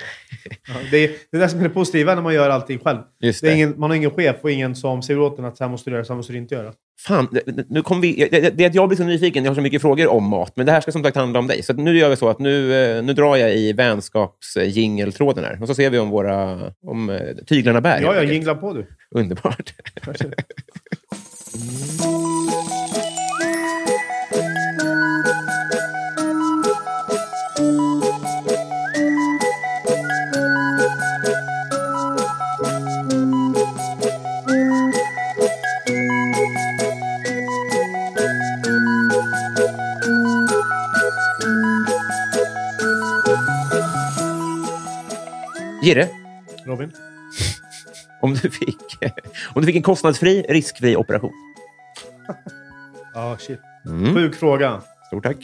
[SPEAKER 3] Ja, det, är, det är det som är det positiva när man gör allting själv.
[SPEAKER 2] Just
[SPEAKER 3] Det är
[SPEAKER 2] det.
[SPEAKER 3] ingen, man har ingen chef och ingen som säger åt en att så här måste du göra, så här måste du inte göra.
[SPEAKER 2] Fan, det- nu kom vi, det- det, det är att jag blir så nyfiken. Jag har så mycket frågor om mat, men det här ska som sagt handla om dig. Så att nu gör vi så att nu, eh, nu drar jag i vänskapsjingeltråden här. Och så ser vi om, våra, om eh, tyglarna bär.
[SPEAKER 3] Ja, ja,
[SPEAKER 2] helt enkelt.
[SPEAKER 3] jingla på du.
[SPEAKER 2] Underbart. Jirre,
[SPEAKER 3] Robin?
[SPEAKER 2] om du fick, om du fick en kostnadsfri, riskfri operation.
[SPEAKER 3] Ja, Ah, shit.
[SPEAKER 2] Mm.
[SPEAKER 3] Sjuk fråga.
[SPEAKER 2] Stort tack.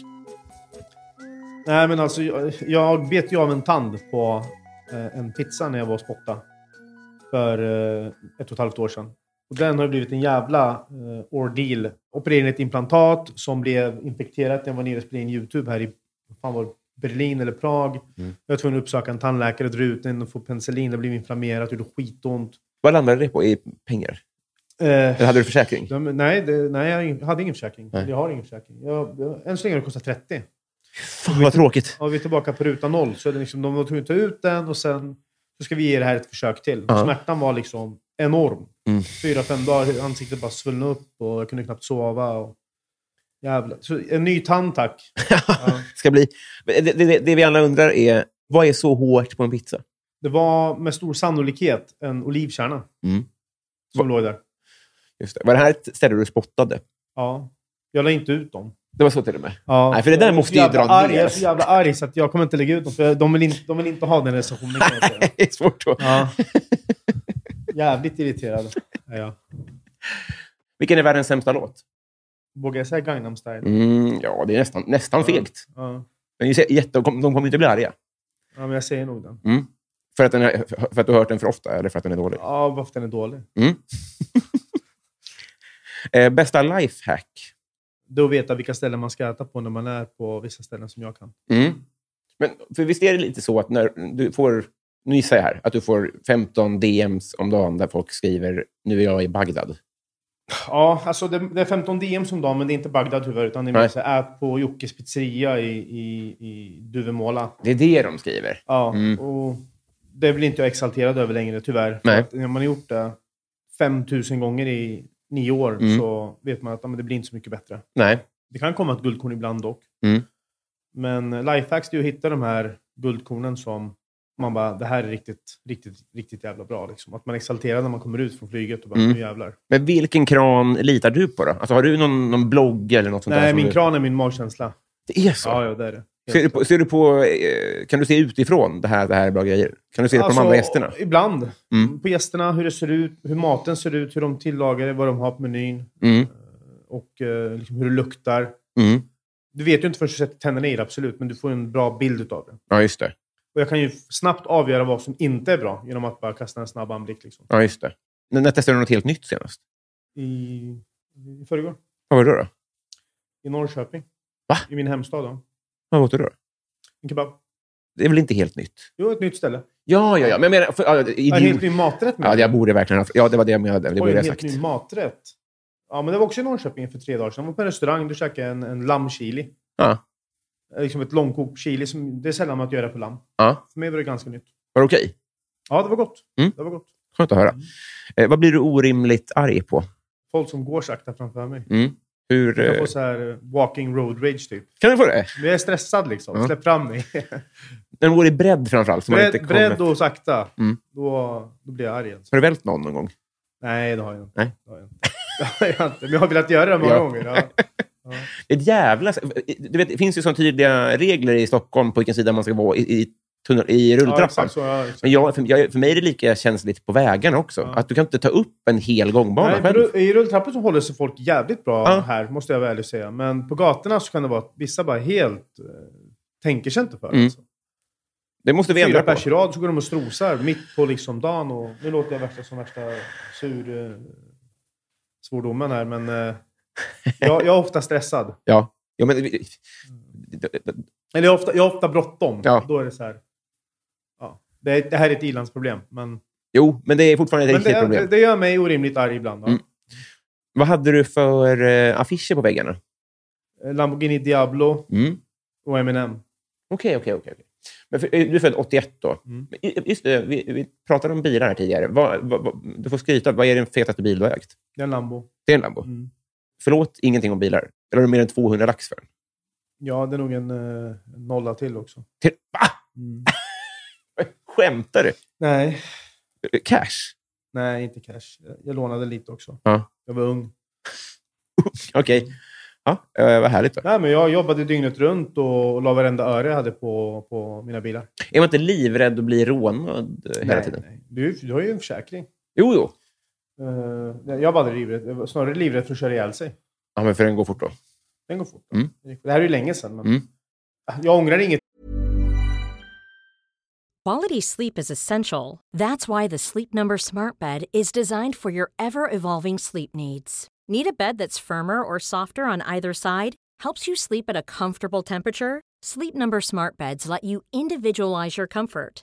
[SPEAKER 3] Nej, men alltså jag, jag bet ju av en tand på eh, en pizza när jag var och spottade. För eh, ett och ett halvt år sedan. Och den har blivit en jävla eh, ordeal. Opererade in ett implantat som blev infekterat när jag var nere och spelade in YouTube här i vad fan var det, Berlin eller Prag. Jag var tvungen att uppsöka en tandläkare, dra ut den och få penicillin. Det blev inflammerat, gjorde skitont.
[SPEAKER 2] Vad landade det på i pengar?
[SPEAKER 3] Eh,
[SPEAKER 2] Eller hade du försäkring?
[SPEAKER 3] de- nej, det, nej, jag har ing- hade ingen försäkring.
[SPEAKER 2] Nej.
[SPEAKER 3] Eller Jag har ingen försäkring. Jag, jag, än så länge har det kostat 30.
[SPEAKER 2] Fan, vad tråkigt.
[SPEAKER 3] Ja, vi är tillbaka på ruta noll. Så det är liksom, de var tvungna att ta ut den och sen så ska vi ge det här ett försök till.
[SPEAKER 2] Ja.
[SPEAKER 3] Smärtan var liksom enorm.
[SPEAKER 2] Mm.
[SPEAKER 3] Fyra, fem dagar. Ansiktet bara svullnade upp och jag kunde knappt sova. Och... Jävlar. Så en ny tand, tack. Ja.
[SPEAKER 2] Ska bli. Men Det, det, det vi alla undrar är, vad är så hårt på en pizza?
[SPEAKER 3] Det var med stor sannolikhet en olivkärna
[SPEAKER 2] Mm.
[SPEAKER 3] som låg där.
[SPEAKER 2] Just det. Var det här ett ställe du spottade?
[SPEAKER 3] Ja. Jag la inte ut dem.
[SPEAKER 2] Det var så till och med.
[SPEAKER 3] Ja.
[SPEAKER 2] Nej, för det där
[SPEAKER 3] Jag är
[SPEAKER 2] måste
[SPEAKER 3] så
[SPEAKER 2] ju
[SPEAKER 3] jävla
[SPEAKER 2] dra
[SPEAKER 3] arg,
[SPEAKER 2] ner.
[SPEAKER 3] Jag är så jävla arg så att jag kommer inte lägga ut dem. För de, vill inte, de vill inte ha den recensionen. kan jag säga.
[SPEAKER 2] Det är svårt att...
[SPEAKER 3] Ja. Jävligt irriterad är jag.
[SPEAKER 2] Vilken är världens sämsta låt?
[SPEAKER 3] Vågar jag säga Gangnam style?
[SPEAKER 2] Mm, ja, det är nästan, nästan fegt.
[SPEAKER 3] Ja.
[SPEAKER 2] Men det är jätte, de kommer de kommer inte bli arga.
[SPEAKER 3] ja, men jag säger nog den.
[SPEAKER 2] Mm. För, att den är, för att du har hört den för ofta eller för att den är dålig?
[SPEAKER 3] Ja, varför den är dålig.
[SPEAKER 2] Eh, bästa lifehack?
[SPEAKER 3] Det är att veta vilka ställen man ska äta på när man är på vissa ställen som jag kan.
[SPEAKER 2] Mm. Men, för visst är det lite så att när du får, nu gissar jag här, att du får 15 DMs om dagen där folk skriver nu är jag i Bagdad.
[SPEAKER 3] Ja, alltså det, det är 15 DM som dag, men det är inte Bagdad tyvärr, utan det är
[SPEAKER 2] Nej.
[SPEAKER 3] mer så här, ät på Jockes pizzeria i, i, i Duvemåla.
[SPEAKER 2] Det är det de skriver.
[SPEAKER 3] Ja,
[SPEAKER 2] Mm.
[SPEAKER 3] och det blir inte jag exalterad över längre tyvärr. För
[SPEAKER 2] Nej.
[SPEAKER 3] att När man har gjort det 5000 gånger i nio år
[SPEAKER 2] Mm.
[SPEAKER 3] så vet man att ja, men det blir inte så mycket bättre.
[SPEAKER 2] Nej.
[SPEAKER 3] Det kan komma ett guldkorn ibland dock.
[SPEAKER 2] Mm.
[SPEAKER 3] Men eh, lifehacks det är ju att hitta de här guldkornen som man bara, det här är riktigt, riktigt, riktigt jävla bra. Liksom. Att man exalterar när man kommer ut från flyget och bara,
[SPEAKER 2] Mm.
[SPEAKER 3] nu jävlar.
[SPEAKER 2] Men vilken kran litar du på då? Alltså, har du någon, någon blogg eller något sånt där?
[SPEAKER 3] Nej,
[SPEAKER 2] som
[SPEAKER 3] min
[SPEAKER 2] du...
[SPEAKER 3] kran är min magkänsla.
[SPEAKER 2] Det är så?
[SPEAKER 3] Ja, ja, det är det.
[SPEAKER 2] Ser du på, ser du på eh, kan du se utifrån det här, det här är bra grejer? Kan du se det på
[SPEAKER 3] Alltså,
[SPEAKER 2] de andra gästerna?
[SPEAKER 3] Ibland.
[SPEAKER 2] Mm.
[SPEAKER 3] På gästerna, hur det ser ut, hur maten ser ut, hur de tillagar det, vad de har på menyn
[SPEAKER 2] Mm,
[SPEAKER 3] och eh, liksom hur det luktar.
[SPEAKER 2] mm.
[SPEAKER 3] Du vet ju inte förrän du sätter tänderna i det, absolut, men du får en bra bild av det.
[SPEAKER 2] Ja, just det.
[SPEAKER 3] Och jag kan ju snabbt avgöra vad som inte är bra genom att bara kasta en snabb anblick. Liksom.
[SPEAKER 2] Ja, just det. När, när testade du något helt nytt senast?
[SPEAKER 3] I, i förrgår,
[SPEAKER 2] Vad var det då?
[SPEAKER 3] i Norrköping.
[SPEAKER 2] Va?
[SPEAKER 3] I min hemstad. Då.
[SPEAKER 2] Vad åt du då?
[SPEAKER 3] En kebab.
[SPEAKER 2] Det är väl inte helt nytt?
[SPEAKER 3] Jo, ett nytt ställe.
[SPEAKER 2] Ja, ja, ja. Men jag menar... För, ja, idiot.
[SPEAKER 3] Ja, en helt ny maträtt.
[SPEAKER 2] ja,
[SPEAKER 3] med.
[SPEAKER 2] jag borde verkligen ha... Ja, det var det jag menade. Det
[SPEAKER 3] Oj,
[SPEAKER 2] borde
[SPEAKER 3] en
[SPEAKER 2] jag ha
[SPEAKER 3] helt
[SPEAKER 2] sagt.
[SPEAKER 3] ny maträtt. Ja, men det var också i Norrköping för tre dagar sedan. Jag var på en restaurang. Du käkade en, en lammchili.
[SPEAKER 2] Ja.
[SPEAKER 3] Eh, Liksom ett långkokt chili. Som, det är sällan man att göra på lamm.
[SPEAKER 2] Ja.
[SPEAKER 3] För mig var det ganska nytt.
[SPEAKER 2] Var det okej?
[SPEAKER 3] Ja, det var gott.
[SPEAKER 2] Mm.
[SPEAKER 3] Det var gott.
[SPEAKER 2] Skönt att höra.
[SPEAKER 3] Mm.
[SPEAKER 2] Eh, vad blir du orimligt arg på?
[SPEAKER 3] Folk som går sakta framför mig.
[SPEAKER 2] Mm. Hur...
[SPEAKER 3] Jag
[SPEAKER 2] eh,
[SPEAKER 3] får så här eh, walking road rage typ.
[SPEAKER 2] Kan du få det?
[SPEAKER 3] Men jag är stressad liksom.
[SPEAKER 2] Ja.
[SPEAKER 3] Släpp fram mig.
[SPEAKER 2] När de går i bredd framför allt. så man inte
[SPEAKER 3] Bredd,
[SPEAKER 2] kommer-
[SPEAKER 3] bredd och sakta.
[SPEAKER 2] Mm.
[SPEAKER 3] Då, då blir jag arg. Alltså.
[SPEAKER 2] Har du vält någon någon gång?
[SPEAKER 3] Nej, det har jag inte.
[SPEAKER 2] Nej.
[SPEAKER 3] Det har jag inte. Det har jag inte. Men jag har velat göra det många
[SPEAKER 2] Ja.
[SPEAKER 3] gånger. Ja.
[SPEAKER 2] Ett jävla... Du vet, det finns ju sådana tydliga regler i Stockholm på vilken sida man ska vara i, i, tunnel, i
[SPEAKER 3] Ja,
[SPEAKER 2] rulltrappan.
[SPEAKER 3] exakt så. Ja, exakt.
[SPEAKER 2] Men jag, för, jag, för mig är det lika känsligt på vägarna också.
[SPEAKER 3] Ja.
[SPEAKER 2] Att du kan inte ta upp en hel gångbana
[SPEAKER 3] Nej,
[SPEAKER 2] själv.
[SPEAKER 3] men I rulltrappor så håller sig folk jävligt bra
[SPEAKER 2] Ja.
[SPEAKER 3] här, måste jag väl ärligt säga. Men på gatorna så kan det vara att vissa bara helt eh, tänker sig inte för.
[SPEAKER 2] Mm.
[SPEAKER 3] Alltså.
[SPEAKER 2] Det måste vi ändra
[SPEAKER 3] Fyra
[SPEAKER 2] på.
[SPEAKER 3] pers i rad så går de och strosar mitt på liksom dagen. Och, nu låter jag värsta som värsta sur eh, svordomen här, men eh, jag, jag är ofta stressad.
[SPEAKER 2] Ja. Ja, men,
[SPEAKER 3] Mm.
[SPEAKER 2] vi-
[SPEAKER 3] Eller jag har ofta, jag har ofta bråttom.
[SPEAKER 2] Ja.
[SPEAKER 3] Då är det så här. Ja. Det, är- det här är ett i-landsproblem, men,
[SPEAKER 2] jo, men det är fortfarande ett
[SPEAKER 3] men
[SPEAKER 2] riktigt
[SPEAKER 3] det,
[SPEAKER 2] problem.
[SPEAKER 3] det, det gör mig orimligt arg ibland. Ja.
[SPEAKER 2] Mm. Vad hade du för eh, affischer på väggarna?
[SPEAKER 3] Eh, Lamborghini Diablo
[SPEAKER 2] Mm.
[SPEAKER 3] och Eminem.
[SPEAKER 2] Okej, okej, okej. okej. Men för, eh, Du är född 81 då.
[SPEAKER 3] Mm.
[SPEAKER 2] Men i- Just det, vi, vi pratade om bilar här tidigare. Vad, vad, vad, du får skryta. Vad är den fetaste bil du har ägt?
[SPEAKER 3] Det är en Lambo.
[SPEAKER 2] Det är en Lambo.
[SPEAKER 3] Mm.
[SPEAKER 2] Förlåt, ingenting om bilar. Eller har du mer än 200 lax för den?
[SPEAKER 3] Ja, det är nog en eh, nolla till också. Mm.
[SPEAKER 2] Till, va? Skämtar du?
[SPEAKER 3] Nej.
[SPEAKER 2] Eh, Cash?
[SPEAKER 3] Nej, inte cash. Jag- Jag lånade lite också.
[SPEAKER 2] Ja.
[SPEAKER 3] Jag var ung.
[SPEAKER 2] Okej.
[SPEAKER 3] Mm.
[SPEAKER 2] Ja, eh, vad härligt. Då.
[SPEAKER 3] Nej, men jag jobbade dygnet runt och, och la varenda öre jag hade på, på mina bilar.
[SPEAKER 2] Är man inte livrädd att bli rånad eh, hela
[SPEAKER 3] nej,
[SPEAKER 2] tiden?
[SPEAKER 3] nej. Du, du har ju en försäkring.
[SPEAKER 2] Jo, jo.
[SPEAKER 3] Eh, jag var aldrig livrädd. Jag var snarare livrädd för att köra ihjäl sig.
[SPEAKER 2] Ja, men för den går fort då.
[SPEAKER 3] Den går fort.
[SPEAKER 2] Mm.
[SPEAKER 3] Det här är ju länge sedan. Men
[SPEAKER 2] Mm.
[SPEAKER 3] Jag ångrar inget
[SPEAKER 4] Quality sleep is essential. That's why the Sleep Number Smart Bed is designed for your ever evolving sleep needs. Need a bed that's firmer or softer on either side? Helps you sleep at a comfortable temperature? Sleep Number Smart Beds let you individualize your comfort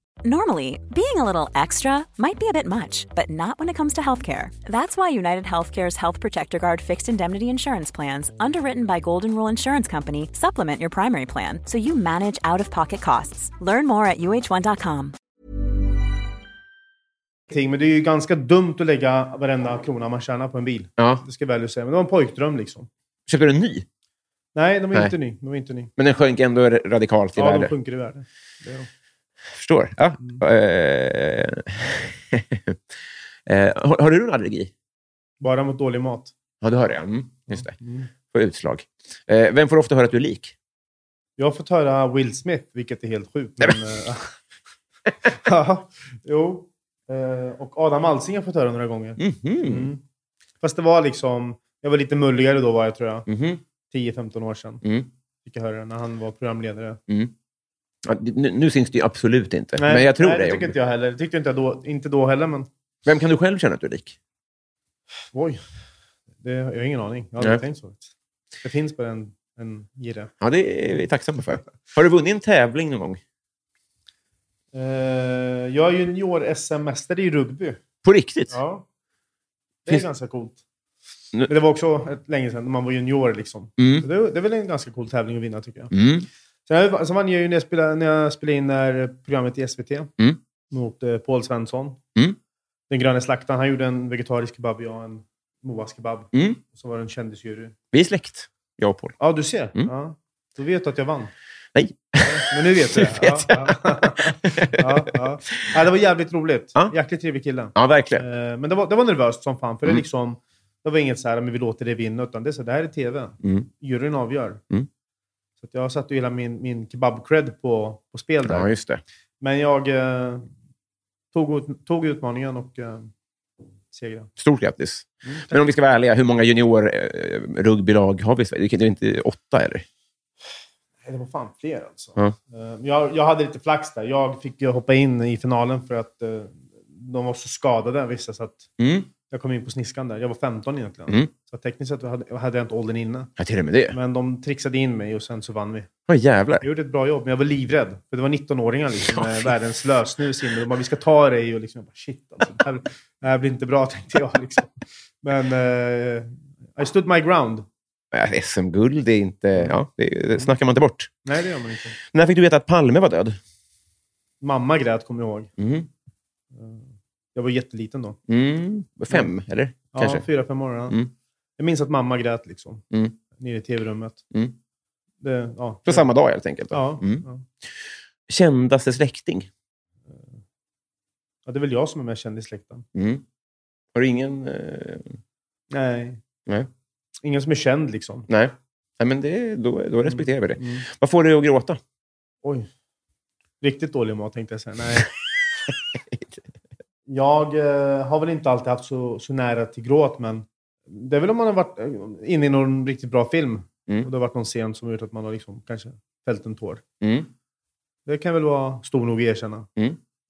[SPEAKER 5] Normally, being a little extra might be a bit much, but not when it comes to healthcare. That's why United Healthcare's Health Protector Guard fixed indemnity insurance plans, underwritten by Golden Rule Insurance Company, supplement your primary plan so you manage out of pocket costs. Learn more at uh uh1.com.
[SPEAKER 3] ingenting, men det är ju ganska dumt att lägga varenda krona man tjänar på en bil.
[SPEAKER 2] Ja.
[SPEAKER 3] Det ska jag väl säga. Men det var en pojkdröm liksom.
[SPEAKER 2] Köpte du en ny?
[SPEAKER 3] Nej, de är
[SPEAKER 2] Nej.
[SPEAKER 3] inte ny. De är inte ny.
[SPEAKER 2] Men den sjönk ändå radikalt i
[SPEAKER 3] Ja, de
[SPEAKER 2] värde.
[SPEAKER 3] funkar i världen. Det är de.
[SPEAKER 2] förstår. Ja.
[SPEAKER 3] Mm.
[SPEAKER 2] Eh, eh, har, har du någon allergi?
[SPEAKER 3] Bara mot dålig mat.
[SPEAKER 2] Ja, du har det. Mm, just det. Får utslag. Eh, vem får ofta höra att du är lik?
[SPEAKER 3] Jag har fått höra Will Smith, vilket är helt sjukt. Men, eh, ja, jo. Eh, Och Adam Alsing har jag fått höra några gånger.
[SPEAKER 2] Mhm.
[SPEAKER 3] Mm. Fast det var liksom... Jag var lite mulligare då, var jag tror jag.
[SPEAKER 2] Mhm.
[SPEAKER 3] 10-15 år sedan
[SPEAKER 2] Mm.
[SPEAKER 3] fick jag höra det, när han var programledare.
[SPEAKER 2] Ja, det- nu, nu syns det ju absolut inte, men jag tror
[SPEAKER 3] nej, det.
[SPEAKER 2] det.
[SPEAKER 3] tycker inte jag heller. Det tyckte inte jag då, inte då heller, men...
[SPEAKER 2] Vem kan du själv känna att du är lik?
[SPEAKER 3] Oj. Det, jag har ingen aning. Jag har aldrig
[SPEAKER 2] Nej.
[SPEAKER 3] tänkt så. Det finns bara en, en girre.
[SPEAKER 2] Ja, det är vi tacksamma för. Har du vunnit en tävling någon gång?
[SPEAKER 3] Eh, jag är junior-SM-mästare i rugby.
[SPEAKER 2] På riktigt?
[SPEAKER 3] Ja. Det är
[SPEAKER 2] Finns-
[SPEAKER 3] ganska coolt.
[SPEAKER 2] Nu-
[SPEAKER 3] Men det var också ett länge sedan, när man var junior. Liksom.
[SPEAKER 2] Mm.
[SPEAKER 3] Så Det, det är väl en ganska cool tävling att vinna, tycker jag.
[SPEAKER 2] Mm.
[SPEAKER 3] Sen jag- sen vann jag ju när jag spelade, när jag spelade in det här programmet i SVT mot eh, Paul Svensson.
[SPEAKER 2] Mm.
[SPEAKER 3] Den gröna slaktaren. Han gjorde en vegetarisk kebab och jag en Moas kebab.
[SPEAKER 2] Mm.
[SPEAKER 3] Och så var det en kändisjury.
[SPEAKER 2] Vi är släkt, jag och Paul.
[SPEAKER 3] Ja, du ser.
[SPEAKER 2] Mm.
[SPEAKER 3] Ja. Då vet du att jag vann.
[SPEAKER 2] Nej.
[SPEAKER 3] Ja, Men nu vet du
[SPEAKER 2] Nu
[SPEAKER 3] det.
[SPEAKER 2] vet
[SPEAKER 3] ja, ja. ja, ja. ja, det var jävligt roligt.
[SPEAKER 2] Ja.
[SPEAKER 3] Jäkligt trevlig kille.
[SPEAKER 2] Ja, verkligen.
[SPEAKER 3] Eh, Men det var, det var nervöst som fan, för
[SPEAKER 2] Mm.
[SPEAKER 3] det, liksom, det var inget så här, men vi låter det vinna, utan det, är så, det här är TV.
[SPEAKER 2] Mm.
[SPEAKER 3] Juryn avgör.
[SPEAKER 2] Mm.
[SPEAKER 3] Så att jag satte ju hela min, min kebab-cred på, på spel där.
[SPEAKER 2] Ja, just det.
[SPEAKER 3] Men jag eh, tog, ut, tog utmaningen och eh, segrade.
[SPEAKER 2] Stort grattis.
[SPEAKER 3] Mm,
[SPEAKER 2] Men om vi ska vara ärliga, hur många junior-rugbylag har vi i Sverige? Det kan- det är inte åtta, eller?
[SPEAKER 3] Nej, Det var fan fler alltså.
[SPEAKER 2] Ja.
[SPEAKER 3] Eh, Jag, jag hade lite flax där. Jag fick ju hoppa in i finalen för att eh, de var så skadade vissa, så att
[SPEAKER 2] Mm.
[SPEAKER 3] jag kom in på sniskan där. Jag var 15 egentligen.
[SPEAKER 2] Mm.
[SPEAKER 3] Så tekniskt sett hade, hade jag inte åldern inne.
[SPEAKER 2] Ja, till och med det.
[SPEAKER 3] Men de trixade in mig och sen så vann vi.
[SPEAKER 2] Åh, jävlar.
[SPEAKER 3] Jag gjorde ett bra jobb, men jag var livrädd. För det var 19-åringar liksom,
[SPEAKER 2] Ja,
[SPEAKER 3] med
[SPEAKER 2] fy.
[SPEAKER 3] världens lösnus inne. De bara, vi ska ta dig. Och liksom, jag bara, shit alltså, det, här, det här blir inte bra, tänkte jag. Liksom. Men eh, I stood my ground.
[SPEAKER 2] Ja, SM-guld, det är inte... Ja, det, det snackar man inte bort.
[SPEAKER 3] Nej, det gör man inte.
[SPEAKER 2] När fick du veta att Palme var död?
[SPEAKER 3] Mamma grät, kommer jag ihåg.
[SPEAKER 2] Mm.
[SPEAKER 3] Jag var jätteliten då.
[SPEAKER 2] Mm. Fem, eller? Kanske.
[SPEAKER 3] Ja, fyra, fem år. Ja.
[SPEAKER 2] Mm.
[SPEAKER 3] Jag minns att mamma grät liksom,
[SPEAKER 2] Mm.
[SPEAKER 3] nere i tv-rummet.
[SPEAKER 2] Mm.
[SPEAKER 3] Det, ja.
[SPEAKER 2] På samma dag, helt enkelt? då?
[SPEAKER 3] Ja,
[SPEAKER 2] Mm.
[SPEAKER 3] ja.
[SPEAKER 2] Kändaste släkting?
[SPEAKER 3] ja, det är väl jag som är mest känd i släkten.
[SPEAKER 2] Mm. Har du ingen... eh,
[SPEAKER 3] Nej.
[SPEAKER 2] Nej.
[SPEAKER 3] Ingen som är känd liksom.
[SPEAKER 2] Nej. Nej, men det, då, då respekterar vi det.
[SPEAKER 3] Mm.
[SPEAKER 2] Vad får du att gråta?
[SPEAKER 3] Oj. Riktigt dålig mat tänkte jag säga. Nej. jag eh, har väl inte alltid haft så, så nära till gråt, men det är väl om man har varit eh, inne i någon riktigt bra film
[SPEAKER 2] Mm.
[SPEAKER 3] och det har varit någon scen som har gjort att man har liksom, kanske fällt en tår.
[SPEAKER 2] Mm.
[SPEAKER 3] Det kan väl vara stor nog att erkänna.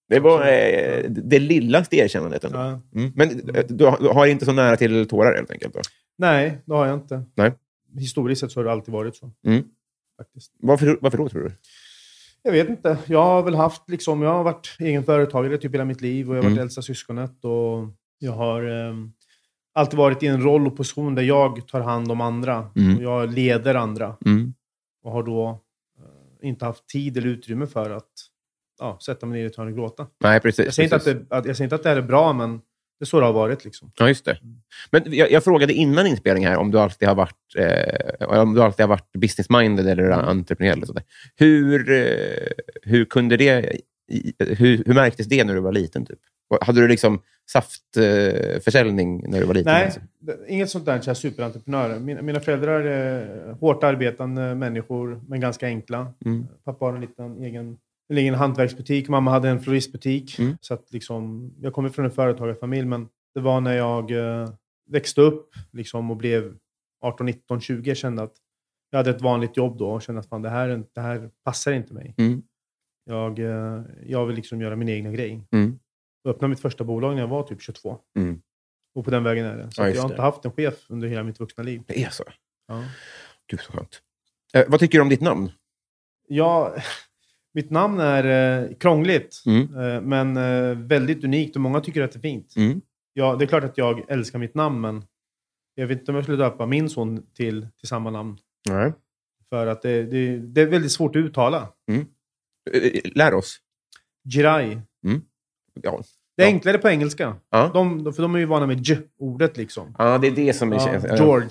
[SPEAKER 2] Det var eh, det lillaste erkännandet. Ändå.
[SPEAKER 3] Ja.
[SPEAKER 2] Mm. Men eh, du har du har inte så nära till tårar, helt enkelt? Då.
[SPEAKER 3] Nej, det har jag inte.
[SPEAKER 2] Nej.
[SPEAKER 3] Historiskt sett så har det alltid varit så.
[SPEAKER 2] Mm.
[SPEAKER 3] Faktiskt.
[SPEAKER 2] Varför, varför då, tror du?
[SPEAKER 3] Jag vet inte. Jag har väl haft liksom, jag har varit egen företagare typ hela mitt liv och jag har varit
[SPEAKER 2] Mm.
[SPEAKER 3] äldsta syskonet. Och jag har ehm, alltid varit i en roll och position där jag tar hand om andra.
[SPEAKER 2] Mm.
[SPEAKER 3] Och jag leder andra
[SPEAKER 2] Mm.
[SPEAKER 3] och har då eh, inte haft tid eller utrymme för att ja, sätta mig ner i ett hörn och gråta.
[SPEAKER 2] Nej, precis.
[SPEAKER 3] Jag säger, inte att
[SPEAKER 2] precis.
[SPEAKER 3] det, att, jag säger inte att det här är bra, men det är så det har varit. Liksom.
[SPEAKER 2] Ja, just det. Men jag, jag frågade innan inspelning här om du alltid har varit, eh, om du alltid har varit business-minded eller
[SPEAKER 3] Mm.
[SPEAKER 2] entreprenör. Eller sånt där. hur, eh, hur kunde det... i- Hur, hur märktes det när du var liten? Typ? Och Hade du liksom saftförsäljning eh, försäljning när du var liten?
[SPEAKER 3] Nej,
[SPEAKER 2] Alltså?
[SPEAKER 3] det- inget sånt där så här superentreprenör. Mina, mina föräldrar är eh, hårt arbetande människor, men ganska enkla.
[SPEAKER 2] Mm.
[SPEAKER 3] Pappa har en liten egen, en egen hantverksbutik, mamma hade en floristbutik.
[SPEAKER 2] Mm.
[SPEAKER 3] Så att liksom, jag kommer från en företagarfamilj, men det var när jag eh, växte upp liksom, och blev 18, 19, 20. Jag kände att jag hade ett vanligt jobb då och kände att fan, det, här, är inte- det här passar inte mig.
[SPEAKER 2] Mm.
[SPEAKER 3] Jag, eh, jag vill liksom göra min egna grej.
[SPEAKER 2] Mm.
[SPEAKER 3] Jag öppnade mitt första bolag när jag var typ 22.
[SPEAKER 2] Mm.
[SPEAKER 3] Och på den vägen är det. Så
[SPEAKER 2] Ja,
[SPEAKER 3] att
[SPEAKER 2] just
[SPEAKER 3] jag har
[SPEAKER 2] det.
[SPEAKER 3] inte haft en chef under hela mitt vuxna liv.
[SPEAKER 2] Det är så?
[SPEAKER 3] Ja.
[SPEAKER 2] Gud, så skönt. Eh, vad tycker du om ditt namn?
[SPEAKER 3] Jag, mitt namn är eh, krångligt,
[SPEAKER 2] Mm.
[SPEAKER 3] eh, men eh, väldigt unikt och många tycker att det är fint.
[SPEAKER 2] Mm.
[SPEAKER 3] Ja, det är klart att jag älskar mitt namn, men jag vet inte om jag skulle döpa min son till, till samma namn.
[SPEAKER 2] Nej.
[SPEAKER 3] För att det, det, det är väldigt svårt att uttala.
[SPEAKER 2] Eh, Lär oss.
[SPEAKER 3] Jirai.
[SPEAKER 2] Ja.
[SPEAKER 3] Det är
[SPEAKER 2] Ja.
[SPEAKER 3] enklare på engelska.
[SPEAKER 2] Ja.
[SPEAKER 3] De, de- för de är ju vana med j-ordet liksom.
[SPEAKER 2] Ja, det är det som...
[SPEAKER 3] Ja,
[SPEAKER 2] Ja,
[SPEAKER 3] George.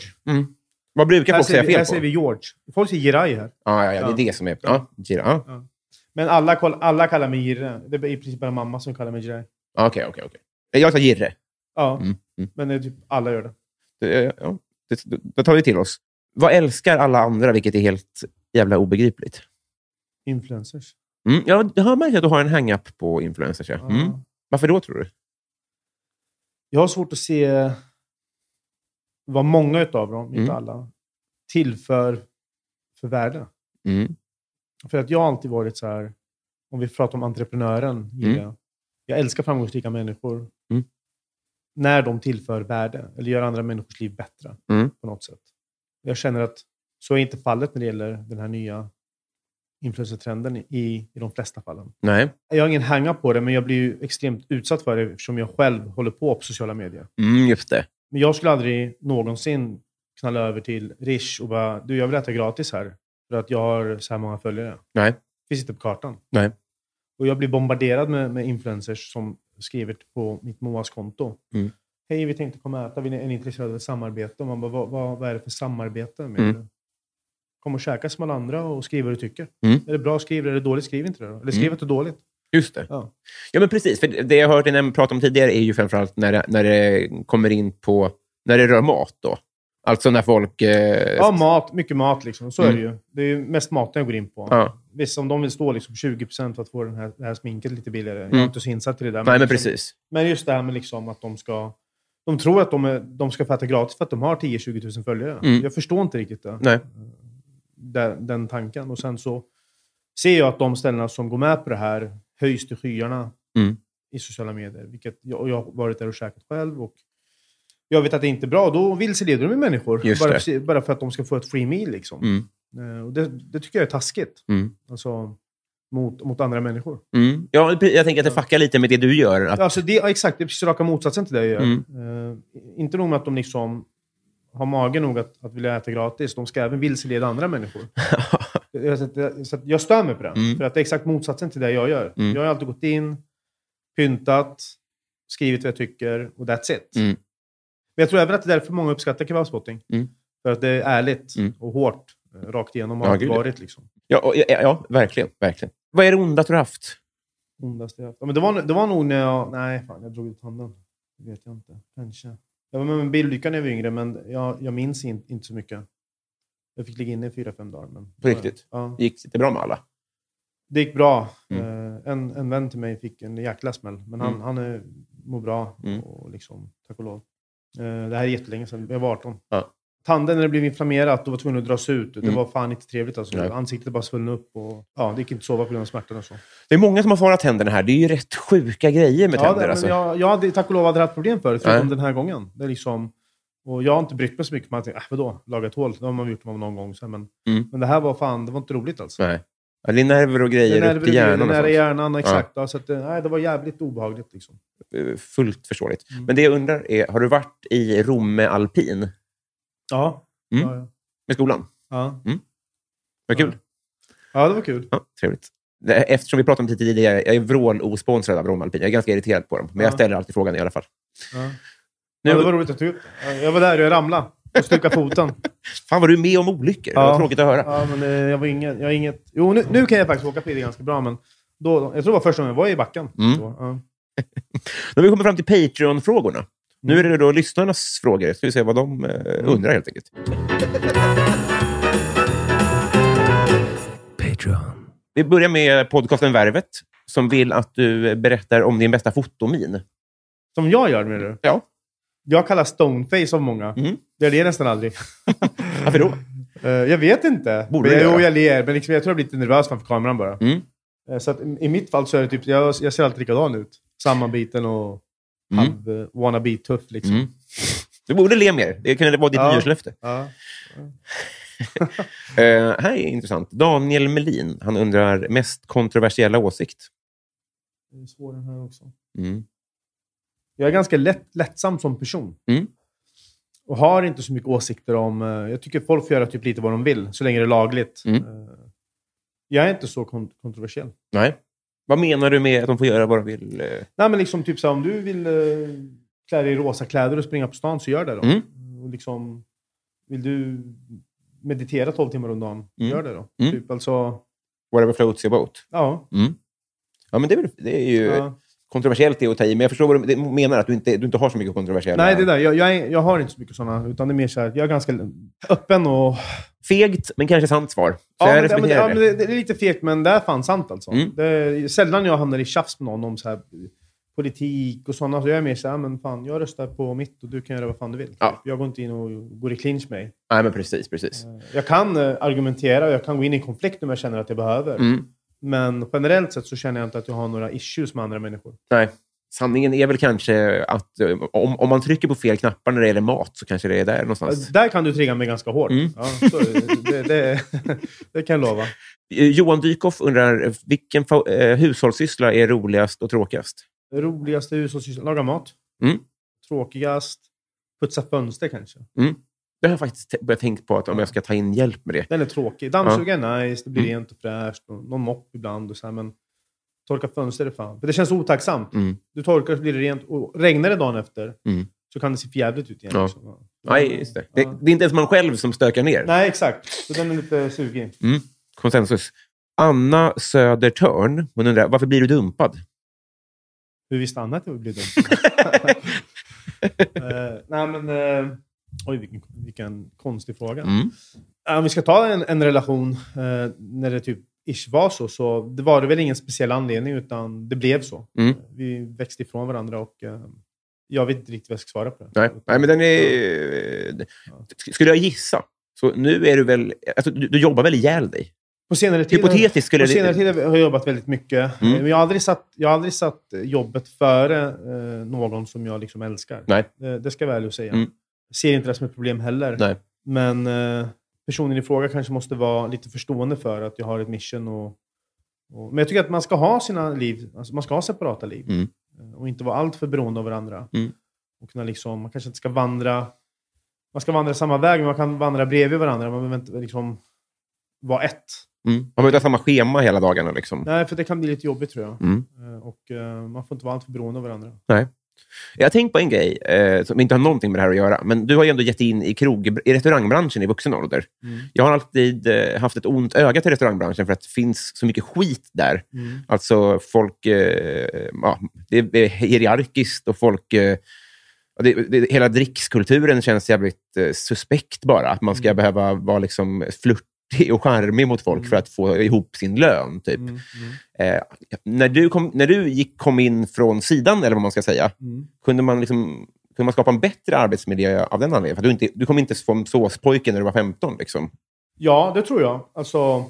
[SPEAKER 2] Vad brukar
[SPEAKER 3] Här
[SPEAKER 2] folk säga
[SPEAKER 3] säger, vi, här
[SPEAKER 2] fel
[SPEAKER 3] säger
[SPEAKER 2] på?
[SPEAKER 3] vi George. Folk säger Jirai här.
[SPEAKER 2] Ja, ja, ja, det
[SPEAKER 3] Ja.
[SPEAKER 2] är det som är... Ja, gira. Ja,
[SPEAKER 3] Men alla, koll- alla kallar mig Jirre. Det är i princip bara mamma som kallar mig Jirre.
[SPEAKER 2] Ja, okej, okej. okej. Jag sa girre.
[SPEAKER 3] Ja,
[SPEAKER 2] Mm, mm.
[SPEAKER 3] men det är typ alla gör det.
[SPEAKER 2] Det, ja, det, det tar vi till oss. Vad älskar alla andra, vilket är helt jävla obegripligt?
[SPEAKER 3] Influencers.
[SPEAKER 2] Mm, jag jag har märkt att du har en hang-up på influencers. Ja.
[SPEAKER 3] Ja.
[SPEAKER 2] Mm. Varför då, tror du?
[SPEAKER 3] Jag har svårt att se vad många utav dem,
[SPEAKER 2] Mm.
[SPEAKER 3] inte alla, tillför för värde.
[SPEAKER 2] Mm.
[SPEAKER 3] För att jag har alltid varit så här, om vi pratar om entreprenören, Jirre. Jag älskar framgångsrika människor.
[SPEAKER 2] Mm.
[SPEAKER 3] När de tillför värde, eller gör andra människors liv bättre
[SPEAKER 2] Mm.
[SPEAKER 3] på något sätt. Jag känner att Så är inte fallet när det gäller den här nya influencertrenden i, i de flesta fallen.
[SPEAKER 2] Nej.
[SPEAKER 3] Jag har ingen hänga på det, men jag blir ju extremt utsatt för det eftersom jag själv håller på på sociala medier.
[SPEAKER 2] Mm, just det.
[SPEAKER 3] Men jag skulle aldrig någonsin knalla över till Rish och bara du, jag vill äta gratis här för att jag har så här många följare.
[SPEAKER 2] Nej.
[SPEAKER 3] Det finns inte på kartan.
[SPEAKER 2] Nej.
[SPEAKER 3] Och jag blir bombarderad med, med influencers som skriver på mitt Moas-konto.
[SPEAKER 2] Mm.
[SPEAKER 3] Hej, vi tänkte komma och äta. Vill ni- Är ni intresserade av ett samarbete? Och man bara, vad, vad, vad är det för samarbete? Med
[SPEAKER 2] Mm.
[SPEAKER 3] Kom och käka som alla andra och skriv vad du tycker.
[SPEAKER 2] Mm.
[SPEAKER 3] Är det bra, skriv. Är det dåligt, skriv inte det. då. Eller skriv
[SPEAKER 2] Mm.
[SPEAKER 3] att det är dåligt.
[SPEAKER 2] Just det.
[SPEAKER 3] Ja.
[SPEAKER 2] Ja, men precis. För det jag har hört dig prata om tidigare är ju framförallt när det, när det kommer in på... När det rör mat då. Alltså när folk... Eh,
[SPEAKER 3] Ja, mat. Mycket mat liksom. Så
[SPEAKER 2] Mm.
[SPEAKER 3] är det ju. Det är ju mest maten jag går in på.
[SPEAKER 2] Ja.
[SPEAKER 3] Visst, om de vill stå liksom 20% för att få den här, det här sminket lite billigare. Jag
[SPEAKER 2] Mm.
[SPEAKER 3] är inte så insatt i det där.
[SPEAKER 2] Nej, men
[SPEAKER 3] liksom-
[SPEAKER 2] precis.
[SPEAKER 3] Men just det här med liksom att de ska... De tror att de, är, de ska få äta gratis för att de har 10-20 000 följare.
[SPEAKER 2] Mm.
[SPEAKER 3] Jag förstår inte riktigt det,
[SPEAKER 2] Nej.
[SPEAKER 3] den, den tanken. Och sen så ser jag att de ställena som går med på det här höjs till skyarna
[SPEAKER 2] Mm.
[SPEAKER 3] i sociala medier. Vilket jag, och jag har varit där och käkat själv. Och jag vet att det inte är bra. Då vilseleder de ju människor.
[SPEAKER 2] Just
[SPEAKER 3] Bara,
[SPEAKER 2] det.
[SPEAKER 3] för- bara för att de ska få ett free meal. Liksom.
[SPEAKER 2] Mm.
[SPEAKER 3] Eh, Och det, det tycker jag är taskigt.
[SPEAKER 2] Mm.
[SPEAKER 3] Alltså, mot, mot andra människor.
[SPEAKER 2] Mm. Ja, pre- jag tänker att det fuckar lite med det du gör. Att,
[SPEAKER 3] Alltså det, ja, exakt, det är precis raka motsatsen till det jag gör.
[SPEAKER 2] Mm.
[SPEAKER 3] Eh, inte nog med att de liksom har mage nog att, att vilja äta gratis, de ska även vilseleda andra människor. Jag- så att- så att jag stör mig på det,
[SPEAKER 2] Mm.
[SPEAKER 3] för att det är exakt motsatsen till det jag gör.
[SPEAKER 2] Mm.
[SPEAKER 3] Jag har alltid gått in, pyntat, skrivit vad jag tycker och that's it.
[SPEAKER 2] Mm.
[SPEAKER 3] Men jag tror även att det är därför många uppskattar kebabspotting.
[SPEAKER 2] Mm.
[SPEAKER 3] För att det är ärligt
[SPEAKER 2] Mm.
[SPEAKER 3] och hårt, eh, rakt igenom
[SPEAKER 2] Ja,
[SPEAKER 3] har det alltid
[SPEAKER 2] gud, ja.
[SPEAKER 3] varit. Liksom.
[SPEAKER 2] ja, och- ja, ja, verkligen. verkligen. Vad är det onda du har haft?
[SPEAKER 3] Ondaste jag haft. Ja, men det, var, det var nog när jag... Nej, fan, jag drog ut handen. Det vet jag inte. Kanske. Jag var med om en bilolycka när jag var yngre, men jag, jag minns in, inte så mycket. Jag fick ligga inne i fyra, fem dagar. Men,
[SPEAKER 2] På riktigt?
[SPEAKER 3] Ja.
[SPEAKER 2] Gick det bra med alla?
[SPEAKER 3] Det gick bra. Eh, En, en vän till mig fick en jäkla smäll, men han,
[SPEAKER 2] Mm.
[SPEAKER 3] han är, mår bra.
[SPEAKER 2] Mm.
[SPEAKER 3] Och liksom, tack och lov. Eh, Det här är jättelänge sedan. Jag var 18.
[SPEAKER 2] Ja.
[SPEAKER 3] Tanden när det blev inflammerat, då var tvungen att dras ut. Det
[SPEAKER 2] Mm.
[SPEAKER 3] var fan inte trevligt. Alltså.
[SPEAKER 2] Nej.
[SPEAKER 3] Ansiktet bara svullnade upp. Och, ja, det gick inte att sova på grund av smärtan och så.
[SPEAKER 2] Det är många som har farat tänderna här. Det är ju rätt sjuka grejer med
[SPEAKER 3] Ja,
[SPEAKER 2] tänder.
[SPEAKER 3] det,
[SPEAKER 2] alltså.
[SPEAKER 3] men jag, jag hade tack och lov aldrig haft problem förut, förutom
[SPEAKER 2] Nej.
[SPEAKER 3] den här gången. Det är liksom, och jag har inte brytt mig så mycket. Man tänker, äh, vadå, laga ett hål? Det har man gjort någon gång sen. Men,
[SPEAKER 2] Mm.
[SPEAKER 3] men det här var fan, det var inte roligt alls.
[SPEAKER 2] Nej. Ja, det är nerver och grejer upp i hjärnan. alltså. och
[SPEAKER 3] nära
[SPEAKER 2] sånt.
[SPEAKER 3] hjärnan, exakt. Ja. Så att, det- nej, det var jävligt obehagligt. Liksom.
[SPEAKER 2] Eh, Fullt förståeligt.
[SPEAKER 3] Mm.
[SPEAKER 2] Men det jag undrar är, har du varit i Romme alpin
[SPEAKER 3] Ja.
[SPEAKER 2] Mm.
[SPEAKER 3] Ja, ja.
[SPEAKER 2] med skolan?
[SPEAKER 3] Ja.
[SPEAKER 2] Vad kul.
[SPEAKER 3] ja, det var kul.
[SPEAKER 2] Ja, trevligt. Det- Eftersom vi pratade om det tidigare, jag är vrål-osponsrad av Romme alpin. Jag är ganska irriterad på dem, men jag
[SPEAKER 3] Ja.
[SPEAKER 2] ställer alltid frågan i alla fall.
[SPEAKER 3] Ja.
[SPEAKER 2] Nu,
[SPEAKER 3] Ja, det var roligt att du tog upp det. Jag var där och jag ramlade och stukade foten.
[SPEAKER 2] Fan, var du med om olyckor? Det
[SPEAKER 3] Ja.
[SPEAKER 2] var tråkigt att höra.
[SPEAKER 3] Ja, men eh, jag var inget... Jag var inget jo, nu, nu kan jag faktiskt åka skidor ganska bra, men då, jag tror det var första gången jag var i backen.
[SPEAKER 2] Mm.
[SPEAKER 3] Då, ja.
[SPEAKER 2] Nu har vi kommit fram till Patreon-frågorna. Nu är det då lyssnarnas frågor. Ska vi se vad de eh, undrar helt enkelt.
[SPEAKER 6] Patreon.
[SPEAKER 2] Vi börjar med podcasten Värvet, som vill att du berättar om din bästa fotomin.
[SPEAKER 3] Som jag gör, menar du?
[SPEAKER 2] Ja.
[SPEAKER 3] Jag kallas stoneface av många.
[SPEAKER 2] Mm.
[SPEAKER 3] Jag ler nästan aldrig.
[SPEAKER 2] Varför då?
[SPEAKER 3] Eh, jag vet inte.
[SPEAKER 2] Borde
[SPEAKER 3] Men
[SPEAKER 2] du
[SPEAKER 3] jag,
[SPEAKER 2] göra?
[SPEAKER 3] jo, jag ler, men liksom, jag tror jag blir lite nervös framför kameran bara.
[SPEAKER 2] Mm.
[SPEAKER 3] Eh, så att, i- i mitt fall så är det typ, jag, jag ser alltid likadan ut. Sammanbiten och
[SPEAKER 2] Mm.
[SPEAKER 3] halv eh, wannabe-tuff liksom.
[SPEAKER 2] Mm. Du borde le mer. Det kunde vara ditt
[SPEAKER 3] Ja.
[SPEAKER 2] nyårslöfte.
[SPEAKER 3] Ja.
[SPEAKER 2] Eh, här är intressant. Daniel Melin, han undrar mest kontroversiella åsikt.
[SPEAKER 3] Det är svår den här också.
[SPEAKER 2] Mm.
[SPEAKER 3] Jag är ganska lätt, lättsam som person.
[SPEAKER 2] Mm.
[SPEAKER 3] Och har inte så mycket åsikter om... eh, Jag tycker folk får göra typ lite vad de vill, så länge det är lagligt.
[SPEAKER 2] Mm.
[SPEAKER 3] Eh, Jag är inte så kon- kontroversiell.
[SPEAKER 2] Nej. Vad menar du med att de får göra vad de vill? eh?
[SPEAKER 3] Nej, men liksom typ så här, om du vill eh, klä dig i rosa kläder och springa på stan, så gör det då.
[SPEAKER 2] Mm.
[SPEAKER 3] Och liksom, vill du meditera 12 timmar om dagen,
[SPEAKER 2] Mm.
[SPEAKER 3] gör det då.
[SPEAKER 2] Mm.
[SPEAKER 3] Typ alltså,
[SPEAKER 2] Whatever floats your boat.
[SPEAKER 3] ja.
[SPEAKER 2] Ja, men det är, väl- det är ju
[SPEAKER 3] ja.
[SPEAKER 2] kontroversiellt det att ta i, men jag förstår vad du menar, att du inte, du inte har så mycket kontroversiella...
[SPEAKER 3] Nej, det där. Jag, jag, är, jag har inte så mycket sådana, utan det är mer så här, jag är ganska öppen och...
[SPEAKER 2] Fegt, men kanske sant svar. Så jag
[SPEAKER 3] men, det- men, det-
[SPEAKER 2] respekterar
[SPEAKER 3] ja, men
[SPEAKER 2] det.
[SPEAKER 3] det, det är lite fegt, men det är fan sant alltså.
[SPEAKER 2] Mm.
[SPEAKER 3] Det är sällan jag hamnar i tjafs med någon om så här, politik och sådana. Så jag är mer så här, men fan, jag röstar på mitt och du kan göra vad fan du vill. Typ,
[SPEAKER 2] Ja.
[SPEAKER 3] Jag går inte in och går i clinch med dig.
[SPEAKER 2] Nej, men precis. precis.
[SPEAKER 3] Jag kan eh, argumentera och jag kan gå in i konflikt om jag känner att jag behöver.
[SPEAKER 2] Mm.
[SPEAKER 3] Men generellt sett så känner jag inte att jag har några issues med andra människor.
[SPEAKER 2] Nej. Sanningen är väl kanske att eh, om, om man trycker på fel knappar när det gäller mat så kanske det är där
[SPEAKER 3] Ja,
[SPEAKER 2] någonstans.
[SPEAKER 3] Alltså, Där kan du trigga mig ganska hårt.
[SPEAKER 2] Mm.
[SPEAKER 3] Ja, så, eh, det, det, det kan jag lova.
[SPEAKER 2] Eh, Johan Dykhoff undrar, eh, vilken fa- eh, hushållssyssla är roligast och tråkigast?
[SPEAKER 3] Roligaste hushållssysslan? Laga mat.
[SPEAKER 2] Mm.
[SPEAKER 3] Tråkigast? Putsa fönster kanske.
[SPEAKER 2] Det har jag faktiskt te- börjat tänka på, att om jag ska ta in hjälp med det.
[SPEAKER 3] Den är tråkig. Dammsuga är nice, det blir
[SPEAKER 2] Mm.
[SPEAKER 3] rent och fräscht. Och någon mopp ibland och så här, men torka fönster är fan... För det känns otacksamt.
[SPEAKER 2] Mm.
[SPEAKER 3] Du torkar så blir det rent. Och regnar det dagen efter
[SPEAKER 2] Mm.
[SPEAKER 3] så kan det se jävligt ut igen.
[SPEAKER 2] Ja.
[SPEAKER 3] liksom. Ja.
[SPEAKER 2] Nej, just det.
[SPEAKER 3] Ja.
[SPEAKER 2] Det, det är inte ens man själv som stökar ner. Mm.
[SPEAKER 3] Nej, exakt. Så den är lite sugig.
[SPEAKER 2] Konsensus. Anna Södertörn, hon undrar, varför blir du dumpad?
[SPEAKER 3] Hur visste Anna att det blev dumt? Eh, nej, men... eh, oj, vilken, vilken konstig fråga.
[SPEAKER 2] Mm.
[SPEAKER 3] Ja, Om vi ska ta en, en relation eh, när det typ ish var så, så det var det väl ingen speciell anledning, utan det blev så.
[SPEAKER 2] Mm.
[SPEAKER 3] Vi växte ifrån varandra och eh, jag vet inte riktigt vad jag ska svara på det.
[SPEAKER 2] Nej. Nej, men den är... eh, Skulle jag gissa, så nu är du väl... Alltså, du, du jobbar väl ihjäl dig?
[SPEAKER 3] På senare tid,
[SPEAKER 2] Hypotetiskt skulle
[SPEAKER 3] på
[SPEAKER 2] det-
[SPEAKER 3] senare tid har jag jobbat väldigt mycket.
[SPEAKER 2] Mm.
[SPEAKER 3] Eh, Men jag har aldrig satt, jag har aldrig satt jobbet före eh, någon som jag liksom älskar.
[SPEAKER 2] Nej.
[SPEAKER 3] Det, det ska jag väl säga.
[SPEAKER 2] Mm.
[SPEAKER 3] Ser inte det som ett problem heller.
[SPEAKER 2] Nej.
[SPEAKER 3] Men eh, personen i fråga kanske måste vara lite förstående för att jag har ett mission. Och, och, men jag tycker att man ska ha sina liv, alltså man ska ha separata liv.
[SPEAKER 2] Mm.
[SPEAKER 3] Eh, Och inte vara allt för beroende av varandra.
[SPEAKER 2] Mm.
[SPEAKER 3] Och kunna liksom, man kanske inte ska vandra man ska vandra samma väg, men man kan vandra bredvid varandra. Man behöver inte liksom vara ett.
[SPEAKER 2] Mm. Har man inte samma schema hela dagarna? Liksom.
[SPEAKER 3] Nej, för det kan bli lite jobbigt tror jag.
[SPEAKER 2] Mm.
[SPEAKER 3] Eh, Och eh, man får inte vara alltför beroende av varandra.
[SPEAKER 2] Jag har tänkt på en grej eh, som inte har någonting med det här att göra, men du har ju ändå gett in i, krog, i restaurangbranschen i vuxen ålder. Jag har alltid eh, haft ett ont öga till restaurangbranschen för att det finns så mycket skit där. Alltså folk... Eh, ja, det är hierarkiskt och folk... Eh, ja, det, det, hela drickskulturen känns jävligt eh, suspekt bara. Att man ska behöva vara liksom flörtig och charmig mot folk för att få ihop sin lön. Typ. Eh, när du, kom, när du gick, kom in från sidan, eller vad man ska säga, kunde, man liksom, kunde man skapa en bättre arbetsmiljö av den anledningen? För att du, inte, du kom inte som såspojken när du var 15. Liksom.
[SPEAKER 3] Ja, det tror jag. Alltså,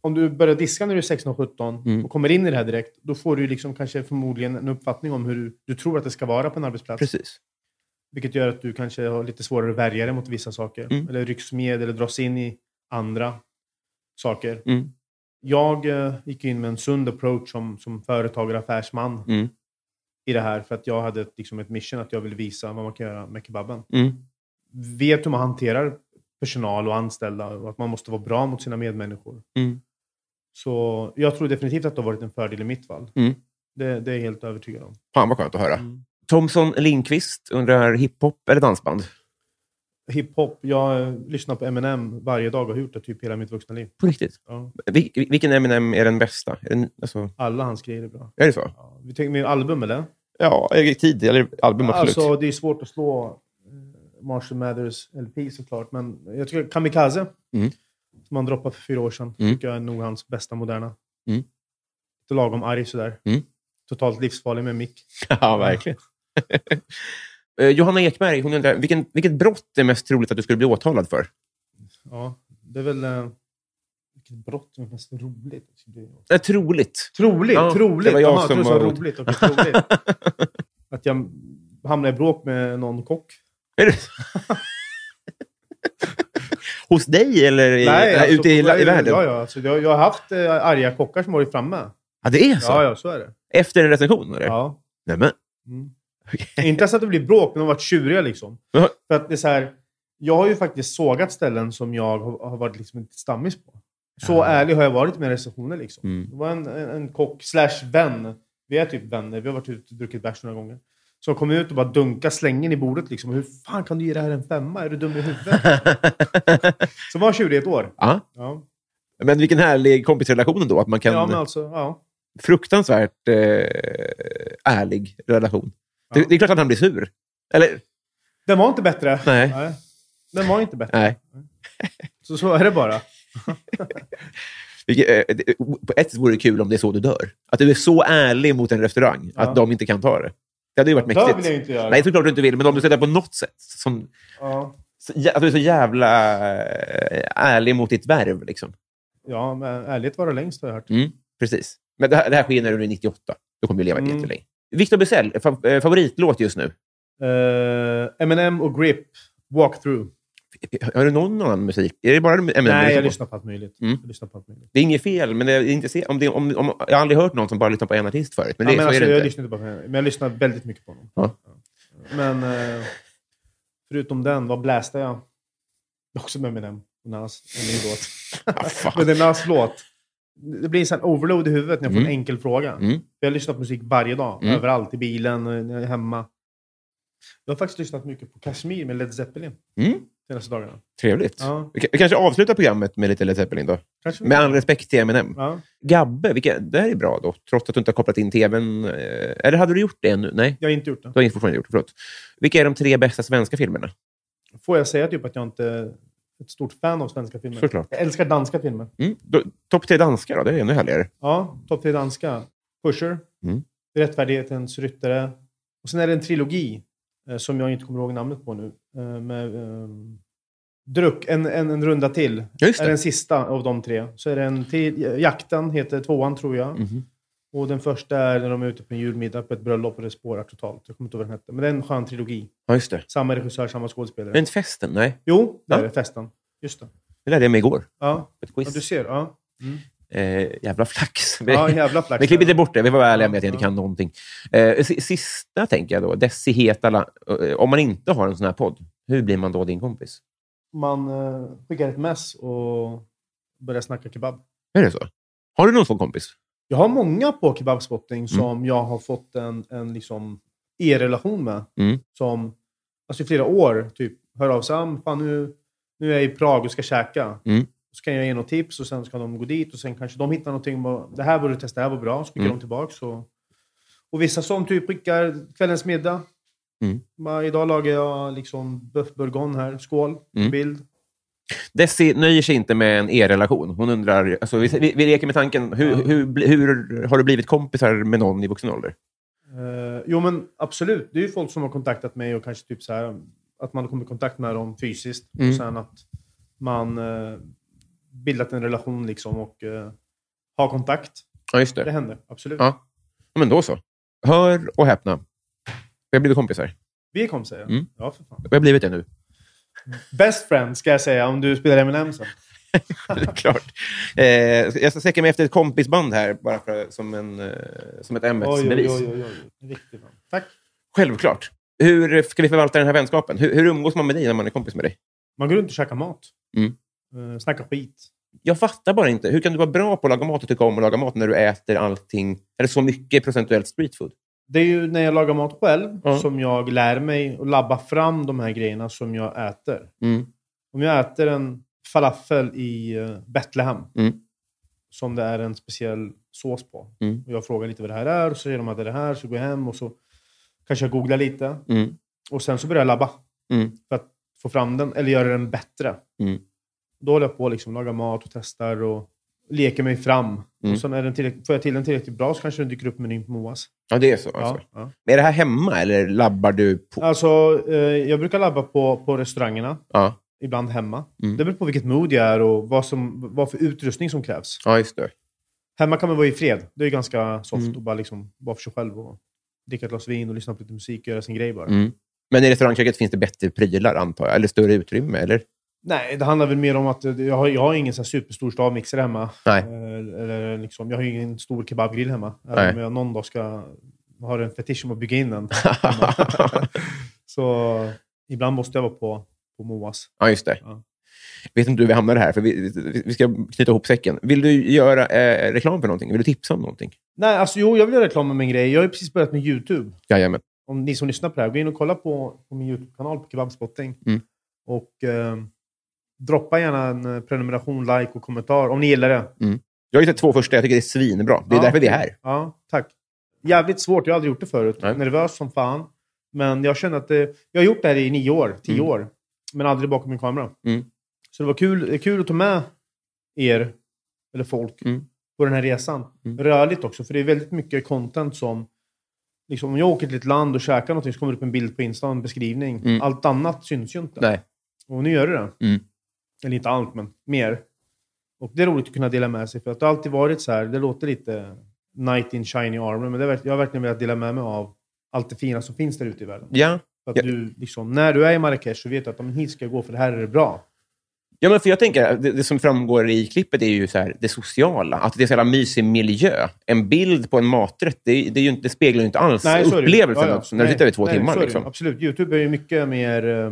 [SPEAKER 3] om du börjar diska när du är 16 och 17
[SPEAKER 2] Mm.
[SPEAKER 3] och kommer in i det här direkt, då får du liksom kanske förmodligen en uppfattning om hur du, du tror att det ska vara på en arbetsplats.
[SPEAKER 2] Precis.
[SPEAKER 3] Vilket gör att du kanske har lite svårare att värja dig mot vissa saker.
[SPEAKER 2] Mm.
[SPEAKER 3] Eller rycks med eller dras in i andra saker.
[SPEAKER 2] Mm.
[SPEAKER 3] Jag eh, gick in med en sund approach som, som företagare och affärsman
[SPEAKER 2] Mm.
[SPEAKER 3] i det här. För att jag hade ett, liksom ett mission att jag ville visa vad man kan göra med kebaben.
[SPEAKER 2] Mm.
[SPEAKER 3] Vet hur man hanterar personal och anställda och att man måste vara bra mot sina medmänniskor.
[SPEAKER 2] Mm.
[SPEAKER 3] Så jag tror definitivt att det har varit en fördel i mitt fall.
[SPEAKER 2] Mm.
[SPEAKER 3] Det, det är jag helt övertygad om.
[SPEAKER 2] Fan vad skönt att höra. Thomson Lindqvist undrar hiphop eller dansband?
[SPEAKER 3] Hiphop, jag eh, lyssnar på Eminem varje dag och har gjort det typ hela mitt vuxna liv.
[SPEAKER 2] På riktigt.
[SPEAKER 3] Ja.
[SPEAKER 2] Vil, vil- vilken Eminem är den bästa? Är, den, alltså,
[SPEAKER 3] Alla hans grejer är bra.
[SPEAKER 2] är det så?
[SPEAKER 3] Ja. Vi tänker med album eller?
[SPEAKER 2] Ja, är det tid eller album absolut.
[SPEAKER 3] Alltså det är svårt att slå eh, Marshall Mathers LP såklart, men jag tycker Kamikaze,
[SPEAKER 2] Mm.
[SPEAKER 3] som han droppade för fyra år sedan,
[SPEAKER 2] Mm.
[SPEAKER 3] tycker jag är nog hans bästa moderna.
[SPEAKER 2] Mm.
[SPEAKER 3] Lite lagom arg sådär.
[SPEAKER 2] Mm.
[SPEAKER 3] Totalt livsfarlig med mick.
[SPEAKER 2] ja, verkligen. Eh, Johanna Ekberg hon undrar vilken, vilket brott är mest troligt att du skulle bli åtalad för?
[SPEAKER 3] Ja, det är väl... eh, Vilket brott som är mest roligt. Det är-
[SPEAKER 2] Äh, troligt.
[SPEAKER 3] Troligt,
[SPEAKER 2] Ja,
[SPEAKER 3] troligt.
[SPEAKER 2] det var jag
[SPEAKER 3] Jaha,
[SPEAKER 2] som
[SPEAKER 3] du sa
[SPEAKER 2] var-
[SPEAKER 3] roligt. Okej, troligt. Att jag hamnar i bråk med någon kock.
[SPEAKER 2] Är det så? Hos dig eller i,
[SPEAKER 3] alltså,
[SPEAKER 2] ute i, la- i
[SPEAKER 3] nej,
[SPEAKER 2] världen?
[SPEAKER 3] Ja,
[SPEAKER 2] Ja,
[SPEAKER 3] ja, alltså, jag, jag har haft eh, arga kockar som varit framme.
[SPEAKER 2] det är så?
[SPEAKER 3] Ja, ja, så är det.
[SPEAKER 2] Efter en recension? Eller?
[SPEAKER 3] Ja.
[SPEAKER 2] Nämen.
[SPEAKER 3] Mm. Inte ens att det blir bråk, men de har varit tjuriga liksom.
[SPEAKER 2] Jaha.
[SPEAKER 3] För att det är så här, jag har ju faktiskt sågat ställen som jag har har varit liksom ett stammis på. Så
[SPEAKER 2] Ja.
[SPEAKER 3] ärlig har jag varit med recensioner. Liksom.
[SPEAKER 2] Ah. Mm.
[SPEAKER 3] Det var en, en, en kock slash vän. Vi är typ vänner. Vi har varit ute och druckit bärs några gånger. Som kom ut och bara dunka slängen i bordet. Liksom. Hur fan kan du ge det här en femma? Är du dum i huvudet? Som var tjurig i ett år.
[SPEAKER 2] ja.
[SPEAKER 3] Ja,
[SPEAKER 2] Men vilken härlig kompisrelation ändå. Att man kan...
[SPEAKER 3] ja men alltså, ja.
[SPEAKER 2] Fruktansvärt eh, ärlig relation. Det, det är klart att han blir sur. Eller?
[SPEAKER 3] Den var inte bättre.
[SPEAKER 2] Nej.
[SPEAKER 3] Den var inte bättre.
[SPEAKER 2] Nej.
[SPEAKER 3] Så, så är det bara.
[SPEAKER 2] Vilket, eh, det- På ett sätt vore det kul om det är så du dör. Att du är så ärlig mot en restaurang
[SPEAKER 3] Ja.
[SPEAKER 2] att de inte kan ta det. Det hade ju varit
[SPEAKER 3] Dör vill jag
[SPEAKER 2] mäktigt.
[SPEAKER 3] ju inte göra.
[SPEAKER 2] Nej, såklart du inte vill, men om du sätter på något sätt. Som,
[SPEAKER 3] Ja.
[SPEAKER 2] så, jä- att du är så jävla eh, ärlig mot ditt värv. Liksom.
[SPEAKER 3] Ja, men ärligt var det längst har jag hört.
[SPEAKER 2] Precis. Men det här, det här sker när du är 98. Du kommer ju leva
[SPEAKER 3] Mm.
[SPEAKER 2] jättelänge. Victor Bizell, fa- eh, favoritlåt just nu?
[SPEAKER 3] Eh, Eminem och Grip, Walk Through.
[SPEAKER 2] Har du någon annan musik? Är det bara Eminem du
[SPEAKER 3] Nej,
[SPEAKER 2] lyssnar
[SPEAKER 3] jag
[SPEAKER 2] på?
[SPEAKER 3] lyssnar på allt möjligt.
[SPEAKER 2] Mm.
[SPEAKER 3] Jag lyssnar på allt möjligt.
[SPEAKER 2] Det är inget fel, men det är inte se, om det, om, om, jag har aldrig hört någon som bara lyssnar på en artist förut. Men det,
[SPEAKER 3] ja, men
[SPEAKER 2] så
[SPEAKER 3] alltså,
[SPEAKER 2] är det
[SPEAKER 3] jag
[SPEAKER 2] inte.
[SPEAKER 3] lyssnar inte på honom, men jag lyssnar väldigt mycket på honom.
[SPEAKER 2] Ja.
[SPEAKER 3] Men eh, förutom den, vad bläste jag? Också med Eminem. Och Nas, en ny låt.
[SPEAKER 2] Ah, fan.
[SPEAKER 3] Men det är Nas låt. Det blir en sån här overload i huvudet när jag får
[SPEAKER 2] Mm.
[SPEAKER 3] en enkel fråga.
[SPEAKER 2] Mm.
[SPEAKER 3] Jag har lyssnat på musik varje dag,
[SPEAKER 2] Mm.
[SPEAKER 3] överallt, i bilen, eh, när jag är hemma. Jag har faktiskt lyssnat mycket på Kashmir med Led Zeppelin
[SPEAKER 2] Mm.
[SPEAKER 3] de senaste dagarna.
[SPEAKER 2] Trevligt.
[SPEAKER 3] Ja.
[SPEAKER 2] Vi, ka- vi kanske avslutar programmet med lite Led Zeppelin då.
[SPEAKER 3] Kanske
[SPEAKER 2] Med all respekt till Eminem.
[SPEAKER 3] Ja.
[SPEAKER 2] Gabbe, vilka, det här är bra då, trots att du inte har kopplat in tvn. eh, Eller hade du gjort det ännu? Nej,
[SPEAKER 3] Jag har inte gjort det.
[SPEAKER 2] du har inte fortfarande gjort det. Förlåt. Vilka är de tre bästa svenska filmerna?
[SPEAKER 3] Får jag säga typ att jag inte är ett stort fan av svenska filmer?
[SPEAKER 2] Såklart.
[SPEAKER 3] Jag älskar danska filmer.
[SPEAKER 2] Mm. Då- Topp tre danska då, det är ännu härligare.
[SPEAKER 3] Ja, topp tre danska. Pusher,
[SPEAKER 2] Mm.
[SPEAKER 3] Rättfärdighetens ryttare. Och sen är det en trilogi eh, som jag inte kommer ihåg namnet på nu. Eh, med, eh, Druck, en, en, en runda till.
[SPEAKER 2] Ja, just
[SPEAKER 3] är
[SPEAKER 2] det.
[SPEAKER 3] den sista av de tre. Så är det en till. Jakten heter tvåan, tror jag.
[SPEAKER 2] Mhm.
[SPEAKER 3] Och den första är när de är ute på en julmiddag på ett bröllop och det spårar totalt. Jag kommer inte ihåg vad den hette. Men det är en skön trilogi.
[SPEAKER 2] Ja, just det.
[SPEAKER 3] Samma regissör, samma skådespelare.
[SPEAKER 2] Men inte festen? Nej,
[SPEAKER 3] Jo, där
[SPEAKER 2] Ja.
[SPEAKER 3] är det festen. Just det.
[SPEAKER 2] det lärde jag mig igår.
[SPEAKER 3] Ja,
[SPEAKER 2] Ett
[SPEAKER 3] ja du
[SPEAKER 2] quiz.
[SPEAKER 3] ser. Ja,
[SPEAKER 2] Eh, jävla flax.
[SPEAKER 3] ja jävla flax.
[SPEAKER 2] Vi klipper inte bort det. Vi var ärliga med att jag inte
[SPEAKER 3] Ja.
[SPEAKER 2] kan någonting. Eh, si- sista tänker jag då. Desi Hetala. Eh, Om man inte har en sån här podd, hur blir man då din kompis?
[SPEAKER 3] Man eh, skickar ett mess och börjar snacka kebab.
[SPEAKER 2] Är det så? Har du någon sån kompis?
[SPEAKER 3] Jag har många på
[SPEAKER 2] Mm.
[SPEAKER 3] kebabspotting som jag har fått en, en liksom e-relation med.
[SPEAKER 2] Mm.
[SPEAKER 3] Som alltså i flera år typ hör av sig. "Ah, Fan, nu, nu är jag i Prag och ska käka.
[SPEAKER 2] Mm.
[SPEAKER 3] Så kan jag ge något tips och sen ska de gå dit och sen kanske de hittar någonting. och bara, Det här borde du testa, det här var bra. Så skickar
[SPEAKER 2] Mm.
[SPEAKER 3] de tillbaka. Och, och vissa som typ skickar kvällens middag.
[SPEAKER 2] Mm.
[SPEAKER 3] Bara, Idag lagar jag liksom bœuf bourgogne här. Skål,
[SPEAKER 2] Mm.
[SPEAKER 3] bild.
[SPEAKER 2] Desi nöjer sig inte med en e-relation. Hon undrar, alltså, vi, vi, vi leker med tanken, hur, hur, bli- hur har du blivit kompisar med någon i vuxen ålder?
[SPEAKER 3] Eh, jo, men absolut. Det är ju folk som har kontaktat mig och kanske typ så här att man har kommit i kontakt med dem fysiskt
[SPEAKER 2] Mm.
[SPEAKER 3] och sen att man eh, bildat en relation liksom och eh, har kontakt.
[SPEAKER 2] Ja, just
[SPEAKER 3] Det
[SPEAKER 2] det.
[SPEAKER 3] händer, absolut.
[SPEAKER 2] Ja. Ja, men då så. Hör och häpna. Vi har blivit kompisar.
[SPEAKER 3] Vi är kompisar. ja.
[SPEAKER 2] Mm.
[SPEAKER 3] Ja, för fan.
[SPEAKER 2] Vi har blivit det nu.
[SPEAKER 3] Best friend ska jag säga om du spelar Eminem sen.
[SPEAKER 2] Det är klart. Eh, jag ska sträcka mig efter ett kompisband här, bara för, som, en, eh, som ett
[SPEAKER 3] Oj, oj,
[SPEAKER 2] ämbetsbevis.
[SPEAKER 3] oj, oj, oj. En Riktig man. Tack.
[SPEAKER 2] Självklart. Hur ska vi förvalta den här vänskapen? Hur, hur umgås man med dig när man är kompis med dig?
[SPEAKER 3] Man går runt och käkar mat.
[SPEAKER 2] Mm.
[SPEAKER 3] Eh, snackar skit.
[SPEAKER 2] Jag fattar bara inte. Hur kan du vara bra på att laga mat och tycka om att laga mat när du äter allting, eller så mycket procentuellt streetfood?
[SPEAKER 3] Det är ju när jag lagar mat själv
[SPEAKER 2] Ja.
[SPEAKER 3] som jag lär mig att labba fram de här grejerna som jag äter.
[SPEAKER 2] Mm.
[SPEAKER 3] Om jag äter en falafel i eh, Betlehem,
[SPEAKER 2] Mm.
[SPEAKER 3] som det är en speciell sås på,
[SPEAKER 2] Mm.
[SPEAKER 3] och jag frågar lite vad det här är, och så säger de att det är det här, så går jag hem och så kanske jag googlar lite.
[SPEAKER 2] Mm.
[SPEAKER 3] Och sen så börjar jag labba
[SPEAKER 2] Mm.
[SPEAKER 3] för att få fram den, eller göra den bättre.
[SPEAKER 2] Mm.
[SPEAKER 3] Då håller jag på och liksom, lagar mat och testar och leker mig fram.
[SPEAKER 2] Mm.
[SPEAKER 3] Och sen är den tillräck- får jag till den tillräckligt bra så kanske den dyker upp i menyn på Moas.
[SPEAKER 2] Ja, det är så. Alltså.
[SPEAKER 3] Ja, ja.
[SPEAKER 2] Men Är det här hemma eller labbar du på?
[SPEAKER 3] Alltså, eh, jag brukar labba på, på restaurangerna,
[SPEAKER 2] Ja,
[SPEAKER 3] ibland hemma.
[SPEAKER 2] Mm.
[SPEAKER 3] Det beror på vilket mood jag är och vad, som, vad för utrustning som krävs.
[SPEAKER 2] ja just det.
[SPEAKER 3] Hemma kan man vara i fred. Det är ju ganska soft
[SPEAKER 2] Mm.
[SPEAKER 3] att bara, liksom, vara för sig själv och dricka ett glas vin och lyssna på lite musik och göra sin grej bara.
[SPEAKER 2] Mm. Men i restaurangköket finns det bättre prylar, antar jag? Eller större utrymme? Eller?
[SPEAKER 3] Nej, det handlar väl mer om att eh, jag har, jag har ingen så här superstor stavmixer hemma.
[SPEAKER 2] Nej.
[SPEAKER 3] Eh, Eller liksom, jag har ju ingen stor kebabgrill hemma. Även
[SPEAKER 2] Nej.
[SPEAKER 3] om jag någon dag ska ha en fetisch om att bygga in den. så ibland måste jag vara på, på Moas.
[SPEAKER 2] ja, just det.
[SPEAKER 3] Ja.
[SPEAKER 2] vet inte hur vi hamnade här, för vi, vi- vi ska knyta ihop säcken. Vill du göra eh, reklam för någonting? Vill du tipsa om någonting?
[SPEAKER 3] Nej, alltså jo, jag vill göra reklam om en grej. Jag har ju precis börjat med YouTube.
[SPEAKER 2] Jajamän.
[SPEAKER 3] om ni som lyssnar på det här, gå in och kolla på, på min YouTube-kanal på Kebabspotting.
[SPEAKER 2] Mm.
[SPEAKER 3] Och eh, droppa gärna en eh, prenumeration, like och kommentar om ni gillar det.
[SPEAKER 2] Jag har ju sett två första. Jag tycker det är svinbra. Det är
[SPEAKER 3] Ja.
[SPEAKER 2] därför vi är här.
[SPEAKER 3] Ja, tack. Jävligt svårt, jag har aldrig gjort det förut.
[SPEAKER 2] Nej.
[SPEAKER 3] Nervös som fan. Men jag känner att det, jag har gjort det här i nio år, tio
[SPEAKER 2] Mm.
[SPEAKER 3] år. Men aldrig bakom min kamera.
[SPEAKER 2] Mm.
[SPEAKER 3] Så det var kul, det är kul att ta med er, eller folk,
[SPEAKER 2] Mm.
[SPEAKER 3] på den här resan.
[SPEAKER 2] Mm.
[SPEAKER 3] Rörligt också, för det är väldigt mycket content som... Liksom, om jag åker till ett land och käkar någonting så kommer det upp en bild på Insta, en beskrivning.
[SPEAKER 2] Mm.
[SPEAKER 3] Allt annat syns ju inte.
[SPEAKER 2] Nej.
[SPEAKER 3] Och nu gör det det.
[SPEAKER 2] Mm.
[SPEAKER 3] Eller inte allt, men mer. Och det är roligt att kunna dela med sig, för att det har alltid varit så här, det låter lite knight in shiny armor. Men det, är verk- jag har verkligen velat dela med mig av allt det fina som finns där ute i världen.
[SPEAKER 2] Ja.
[SPEAKER 3] För att
[SPEAKER 2] Ja.
[SPEAKER 3] du, liksom, när du är i Marrakesh så vet du att "Men hit ska jag gå för det här är det bra.
[SPEAKER 2] Ja, men för jag tänker, det, det som framgår i klippet är ju så här, det sociala. Att det är så jävla mysig miljö. En bild på en maträtt, det, är- det, är ju inte, det speglar ju inte alls
[SPEAKER 3] så är det ju.
[SPEAKER 2] upplevelsen
[SPEAKER 3] Ja, ja.
[SPEAKER 2] också, när du
[SPEAKER 3] Nej,
[SPEAKER 2] sitter i två
[SPEAKER 3] nej, så
[SPEAKER 2] timmar.
[SPEAKER 3] är det ju.
[SPEAKER 2] Liksom.
[SPEAKER 3] Absolut. Youtube är ju mycket mer eh,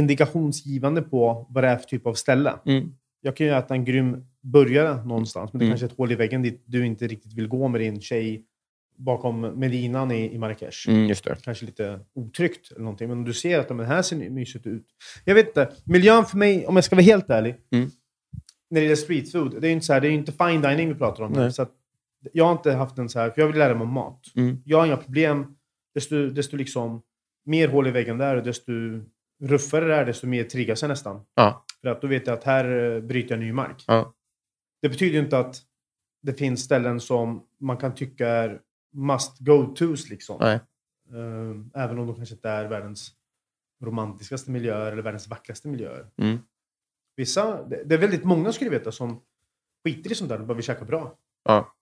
[SPEAKER 3] indikationsgivande på vad det är för typ av ställe.
[SPEAKER 2] Mm.
[SPEAKER 3] Jag kan ju äta en grym burgare någonstans, men det
[SPEAKER 2] Mm.
[SPEAKER 3] kanske är ett hål i väggen dit du inte riktigt vill gå med din tjej bakom Medinan i, i Marrakesh.
[SPEAKER 2] Mm, just det.
[SPEAKER 3] Kanske lite otryggt eller någonting, men om du ser att "Men det här ser mysigt ut. Jag vet inte. Miljön för mig, om jag ska vara helt ärlig,
[SPEAKER 2] Mm.
[SPEAKER 3] när det gäller street food, det är ju inte, så här, det är ju inte fine dining vi pratar om. här,
[SPEAKER 2] Nej.
[SPEAKER 3] Så att jag har inte haft en så här, för jag vill lära mig om mat.
[SPEAKER 2] Mm.
[SPEAKER 3] Jag har inga problem. Desto, desto liksom mer hål i väggen där, desto ruffare det är, desto mer triggas jag nästan.
[SPEAKER 2] Ja.
[SPEAKER 3] För att då vet jag att här eh, bryter jag ny mark.
[SPEAKER 2] Ja.
[SPEAKER 3] Det betyder ju inte att det finns ställen som man kan tycka är must go-tos. Liksom.
[SPEAKER 2] Nej.
[SPEAKER 3] Eh, Även om de kanske inte är världens romantiskaste miljöer eller världens vackraste miljöer.
[SPEAKER 2] Mm.
[SPEAKER 3] Vissa, det det är väldigt många skulle jag veta som skiter i sånt där och bara vill käka bra.
[SPEAKER 2] Ja.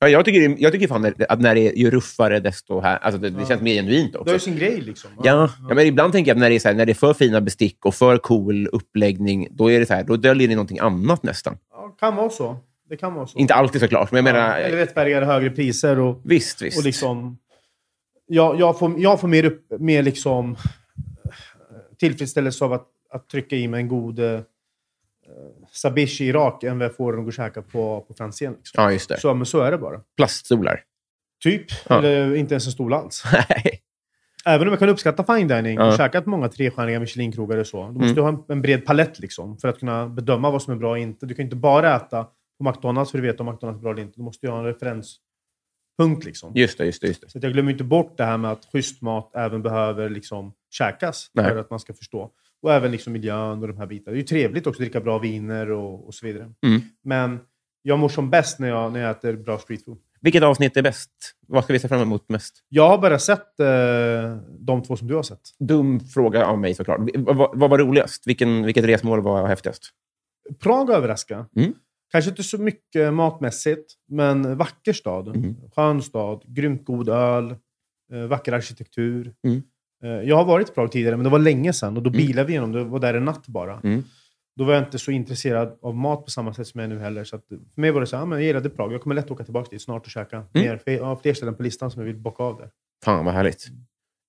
[SPEAKER 2] Ja, jag, tycker, jag tycker fan att när det är ju ruffare, desto här, alltså det, det
[SPEAKER 3] Ja.
[SPEAKER 2] känns mer genuint
[SPEAKER 3] Det har
[SPEAKER 2] också.
[SPEAKER 3] ju sin grej liksom.
[SPEAKER 2] Ja, ja, men ibland tänker jag att när det, är så här, när det är för fina bestick och för cool uppläggning, då, är det så här, då döljer det någonting annat nästan.
[SPEAKER 3] Ja, kan vara så. Det kan vara så.
[SPEAKER 2] Inte alltid såklart, men jag menar...
[SPEAKER 3] Eller rättfärdigare högre priser och,
[SPEAKER 2] Visst, visst.
[SPEAKER 3] och liksom... Jag, jag, får, jag får mer, upp, mer liksom eh, tillfredsställelse av att, att trycka i mig en god eh, sabish i Irak än vad jag får att gå och käka på, på Franzén. Liksom.
[SPEAKER 2] Ja, just det.
[SPEAKER 3] Så, men så är det bara.
[SPEAKER 2] Plaststolar.
[SPEAKER 3] Typ.
[SPEAKER 2] Ja.
[SPEAKER 3] Eller inte ens en stol alls.
[SPEAKER 2] Nej.
[SPEAKER 3] Även om jag kan uppskatta fine dining
[SPEAKER 2] Ja. Mm.
[SPEAKER 3] och käkat många trestjärniga Michelin-krogar och så. Du måste ju ha en, en bred palett liksom, för att kunna bedöma vad som är bra och inte. Du kan ju inte bara äta på McDonalds för att veta om McDonalds är bra eller inte. Du måste ju ha en referenspunkt. Liksom.
[SPEAKER 2] Just det, just det, just det.
[SPEAKER 3] Så att jag glömmer inte bort det här med att schysst mat även behöver liksom, käkas
[SPEAKER 2] Nej.
[SPEAKER 3] för att man ska förstå. Och även liksom, miljön och de här bitarna. Det är ju trevligt också att dricka bra viner och, och så vidare.
[SPEAKER 2] Mm.
[SPEAKER 3] Men jag mår som bäst när jag, när jag äter bra streetfood.
[SPEAKER 2] Vilket avsnitt är bäst? Vad ska vi se fram emot mest?
[SPEAKER 3] Jag har bara sett eh, de två som du har sett.
[SPEAKER 2] Dum fråga av mig såklart. V- Vad, vad var roligast? Vilken, vilket resmål var häftigast?
[SPEAKER 3] Prag överraskar.
[SPEAKER 2] Mm.
[SPEAKER 3] Kanske inte så mycket matmässigt, men vacker stad.
[SPEAKER 2] Mm.
[SPEAKER 3] Skön stad, grymt god öl, eh, vacker arkitektur.
[SPEAKER 2] Mm.
[SPEAKER 3] Eh, Jag har varit i Prag tidigare, men det var länge sedan och då
[SPEAKER 2] Mm.
[SPEAKER 3] bilade vi igenom. Det var där en natt bara.
[SPEAKER 2] Mm.
[SPEAKER 3] Då var jag inte så intresserad av mat på samma sätt som jag är nu heller. Så att för mig var det så här, "Ah, men jag gillade Prag. Jag kommer lätt åka tillbaka dit snart och käka
[SPEAKER 2] Mm.
[SPEAKER 3] mer. För jag har fler ställen på listan som jag vill bocka av där.
[SPEAKER 2] Fan, vad härligt.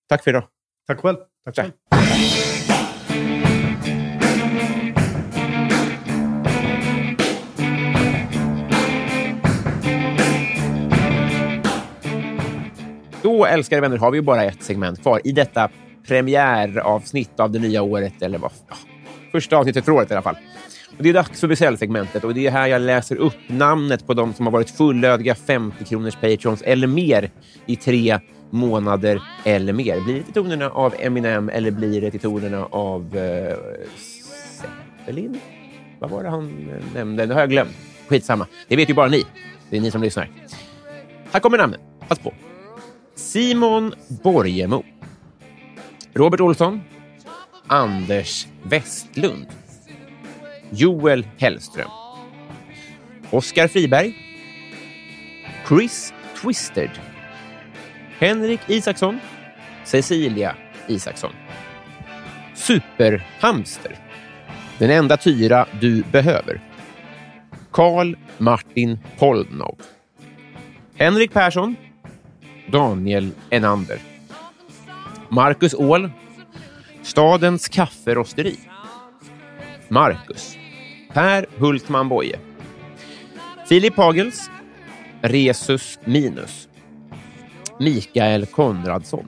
[SPEAKER 2] Tack för idag.
[SPEAKER 3] Tack själv. Tack
[SPEAKER 2] Tack.
[SPEAKER 3] själv.
[SPEAKER 2] Då, älskade vänner, har vi ju bara ett segment kvar i detta premiäravsnitt av det nya året, eller vad? Ja, första avsnittet för året i alla fall. Och det är dags för Bysell-segmentet och det är här jag läser upp namnet på de som har varit fullödiga 50-kronors patrons eller mer i tre månader eller mer. Blir det till tonerna av Eminem eller blir det till tonerna av eh, Zeppelin? Vad var det han eh, nämnde? Det har jag glömt. Skitsamma. Det vet ju bara ni. Det är ni som lyssnar. Här kommer namnen. Pass på. Simon Borgemo. Robert Olsson. Anders Westlund. Joel Hellström. Oskar Friberg. Chris Twisted. Henrik Isaksson. Cecilia Isaksson. Superhamster. Den enda tyra du behöver. Karl Martin Polnov. Henrik Persson. Daniel Enander. Marcus Åhl. Stadens kafferosteri. Marcus. Per Hultman Boye. Filip Hagels. Resus Minus. Mikael Konradsson.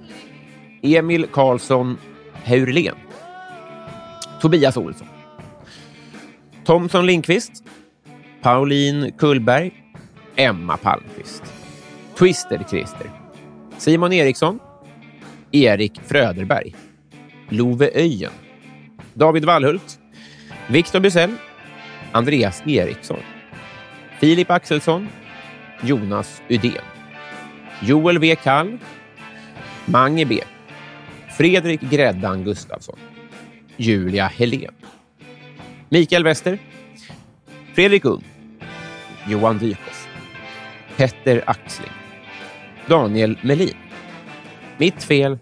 [SPEAKER 2] Emil Karlsson Heurlen. Tobias Olsson. Thomson Lindqvist. Pauline Kullberg. Emma Palmqvist. Twister-Christer. Simon Eriksson. Erik Fröderberg. Love Öjen. David Wallhult. Viktor Bysell. Andreas Eriksson. Filip Axelsson. Jonas Udén. Joel W. Kall. Mange B. Fredrik Gräddan Gustafsson. Julia Helén. Mikael Wester. Fredrik Ung. Johan Umm. Dykhoff. Petter Axling, Daniel Melin, Mitt Fel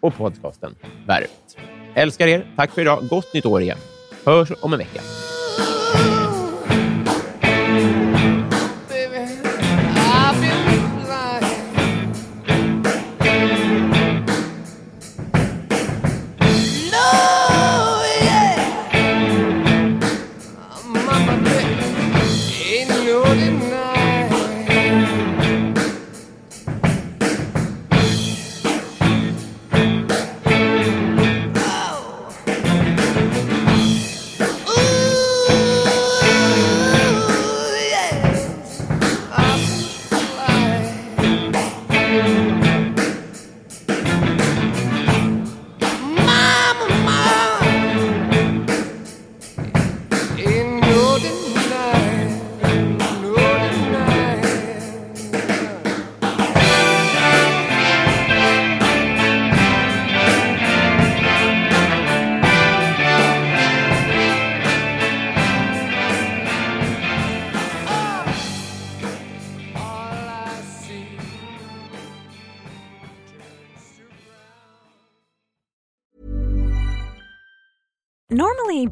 [SPEAKER 2] och podcasten Värvet. Älskar er. Tack för idag. Gott nytt år igen. Hörs om en vecka.
[SPEAKER 5] Normally,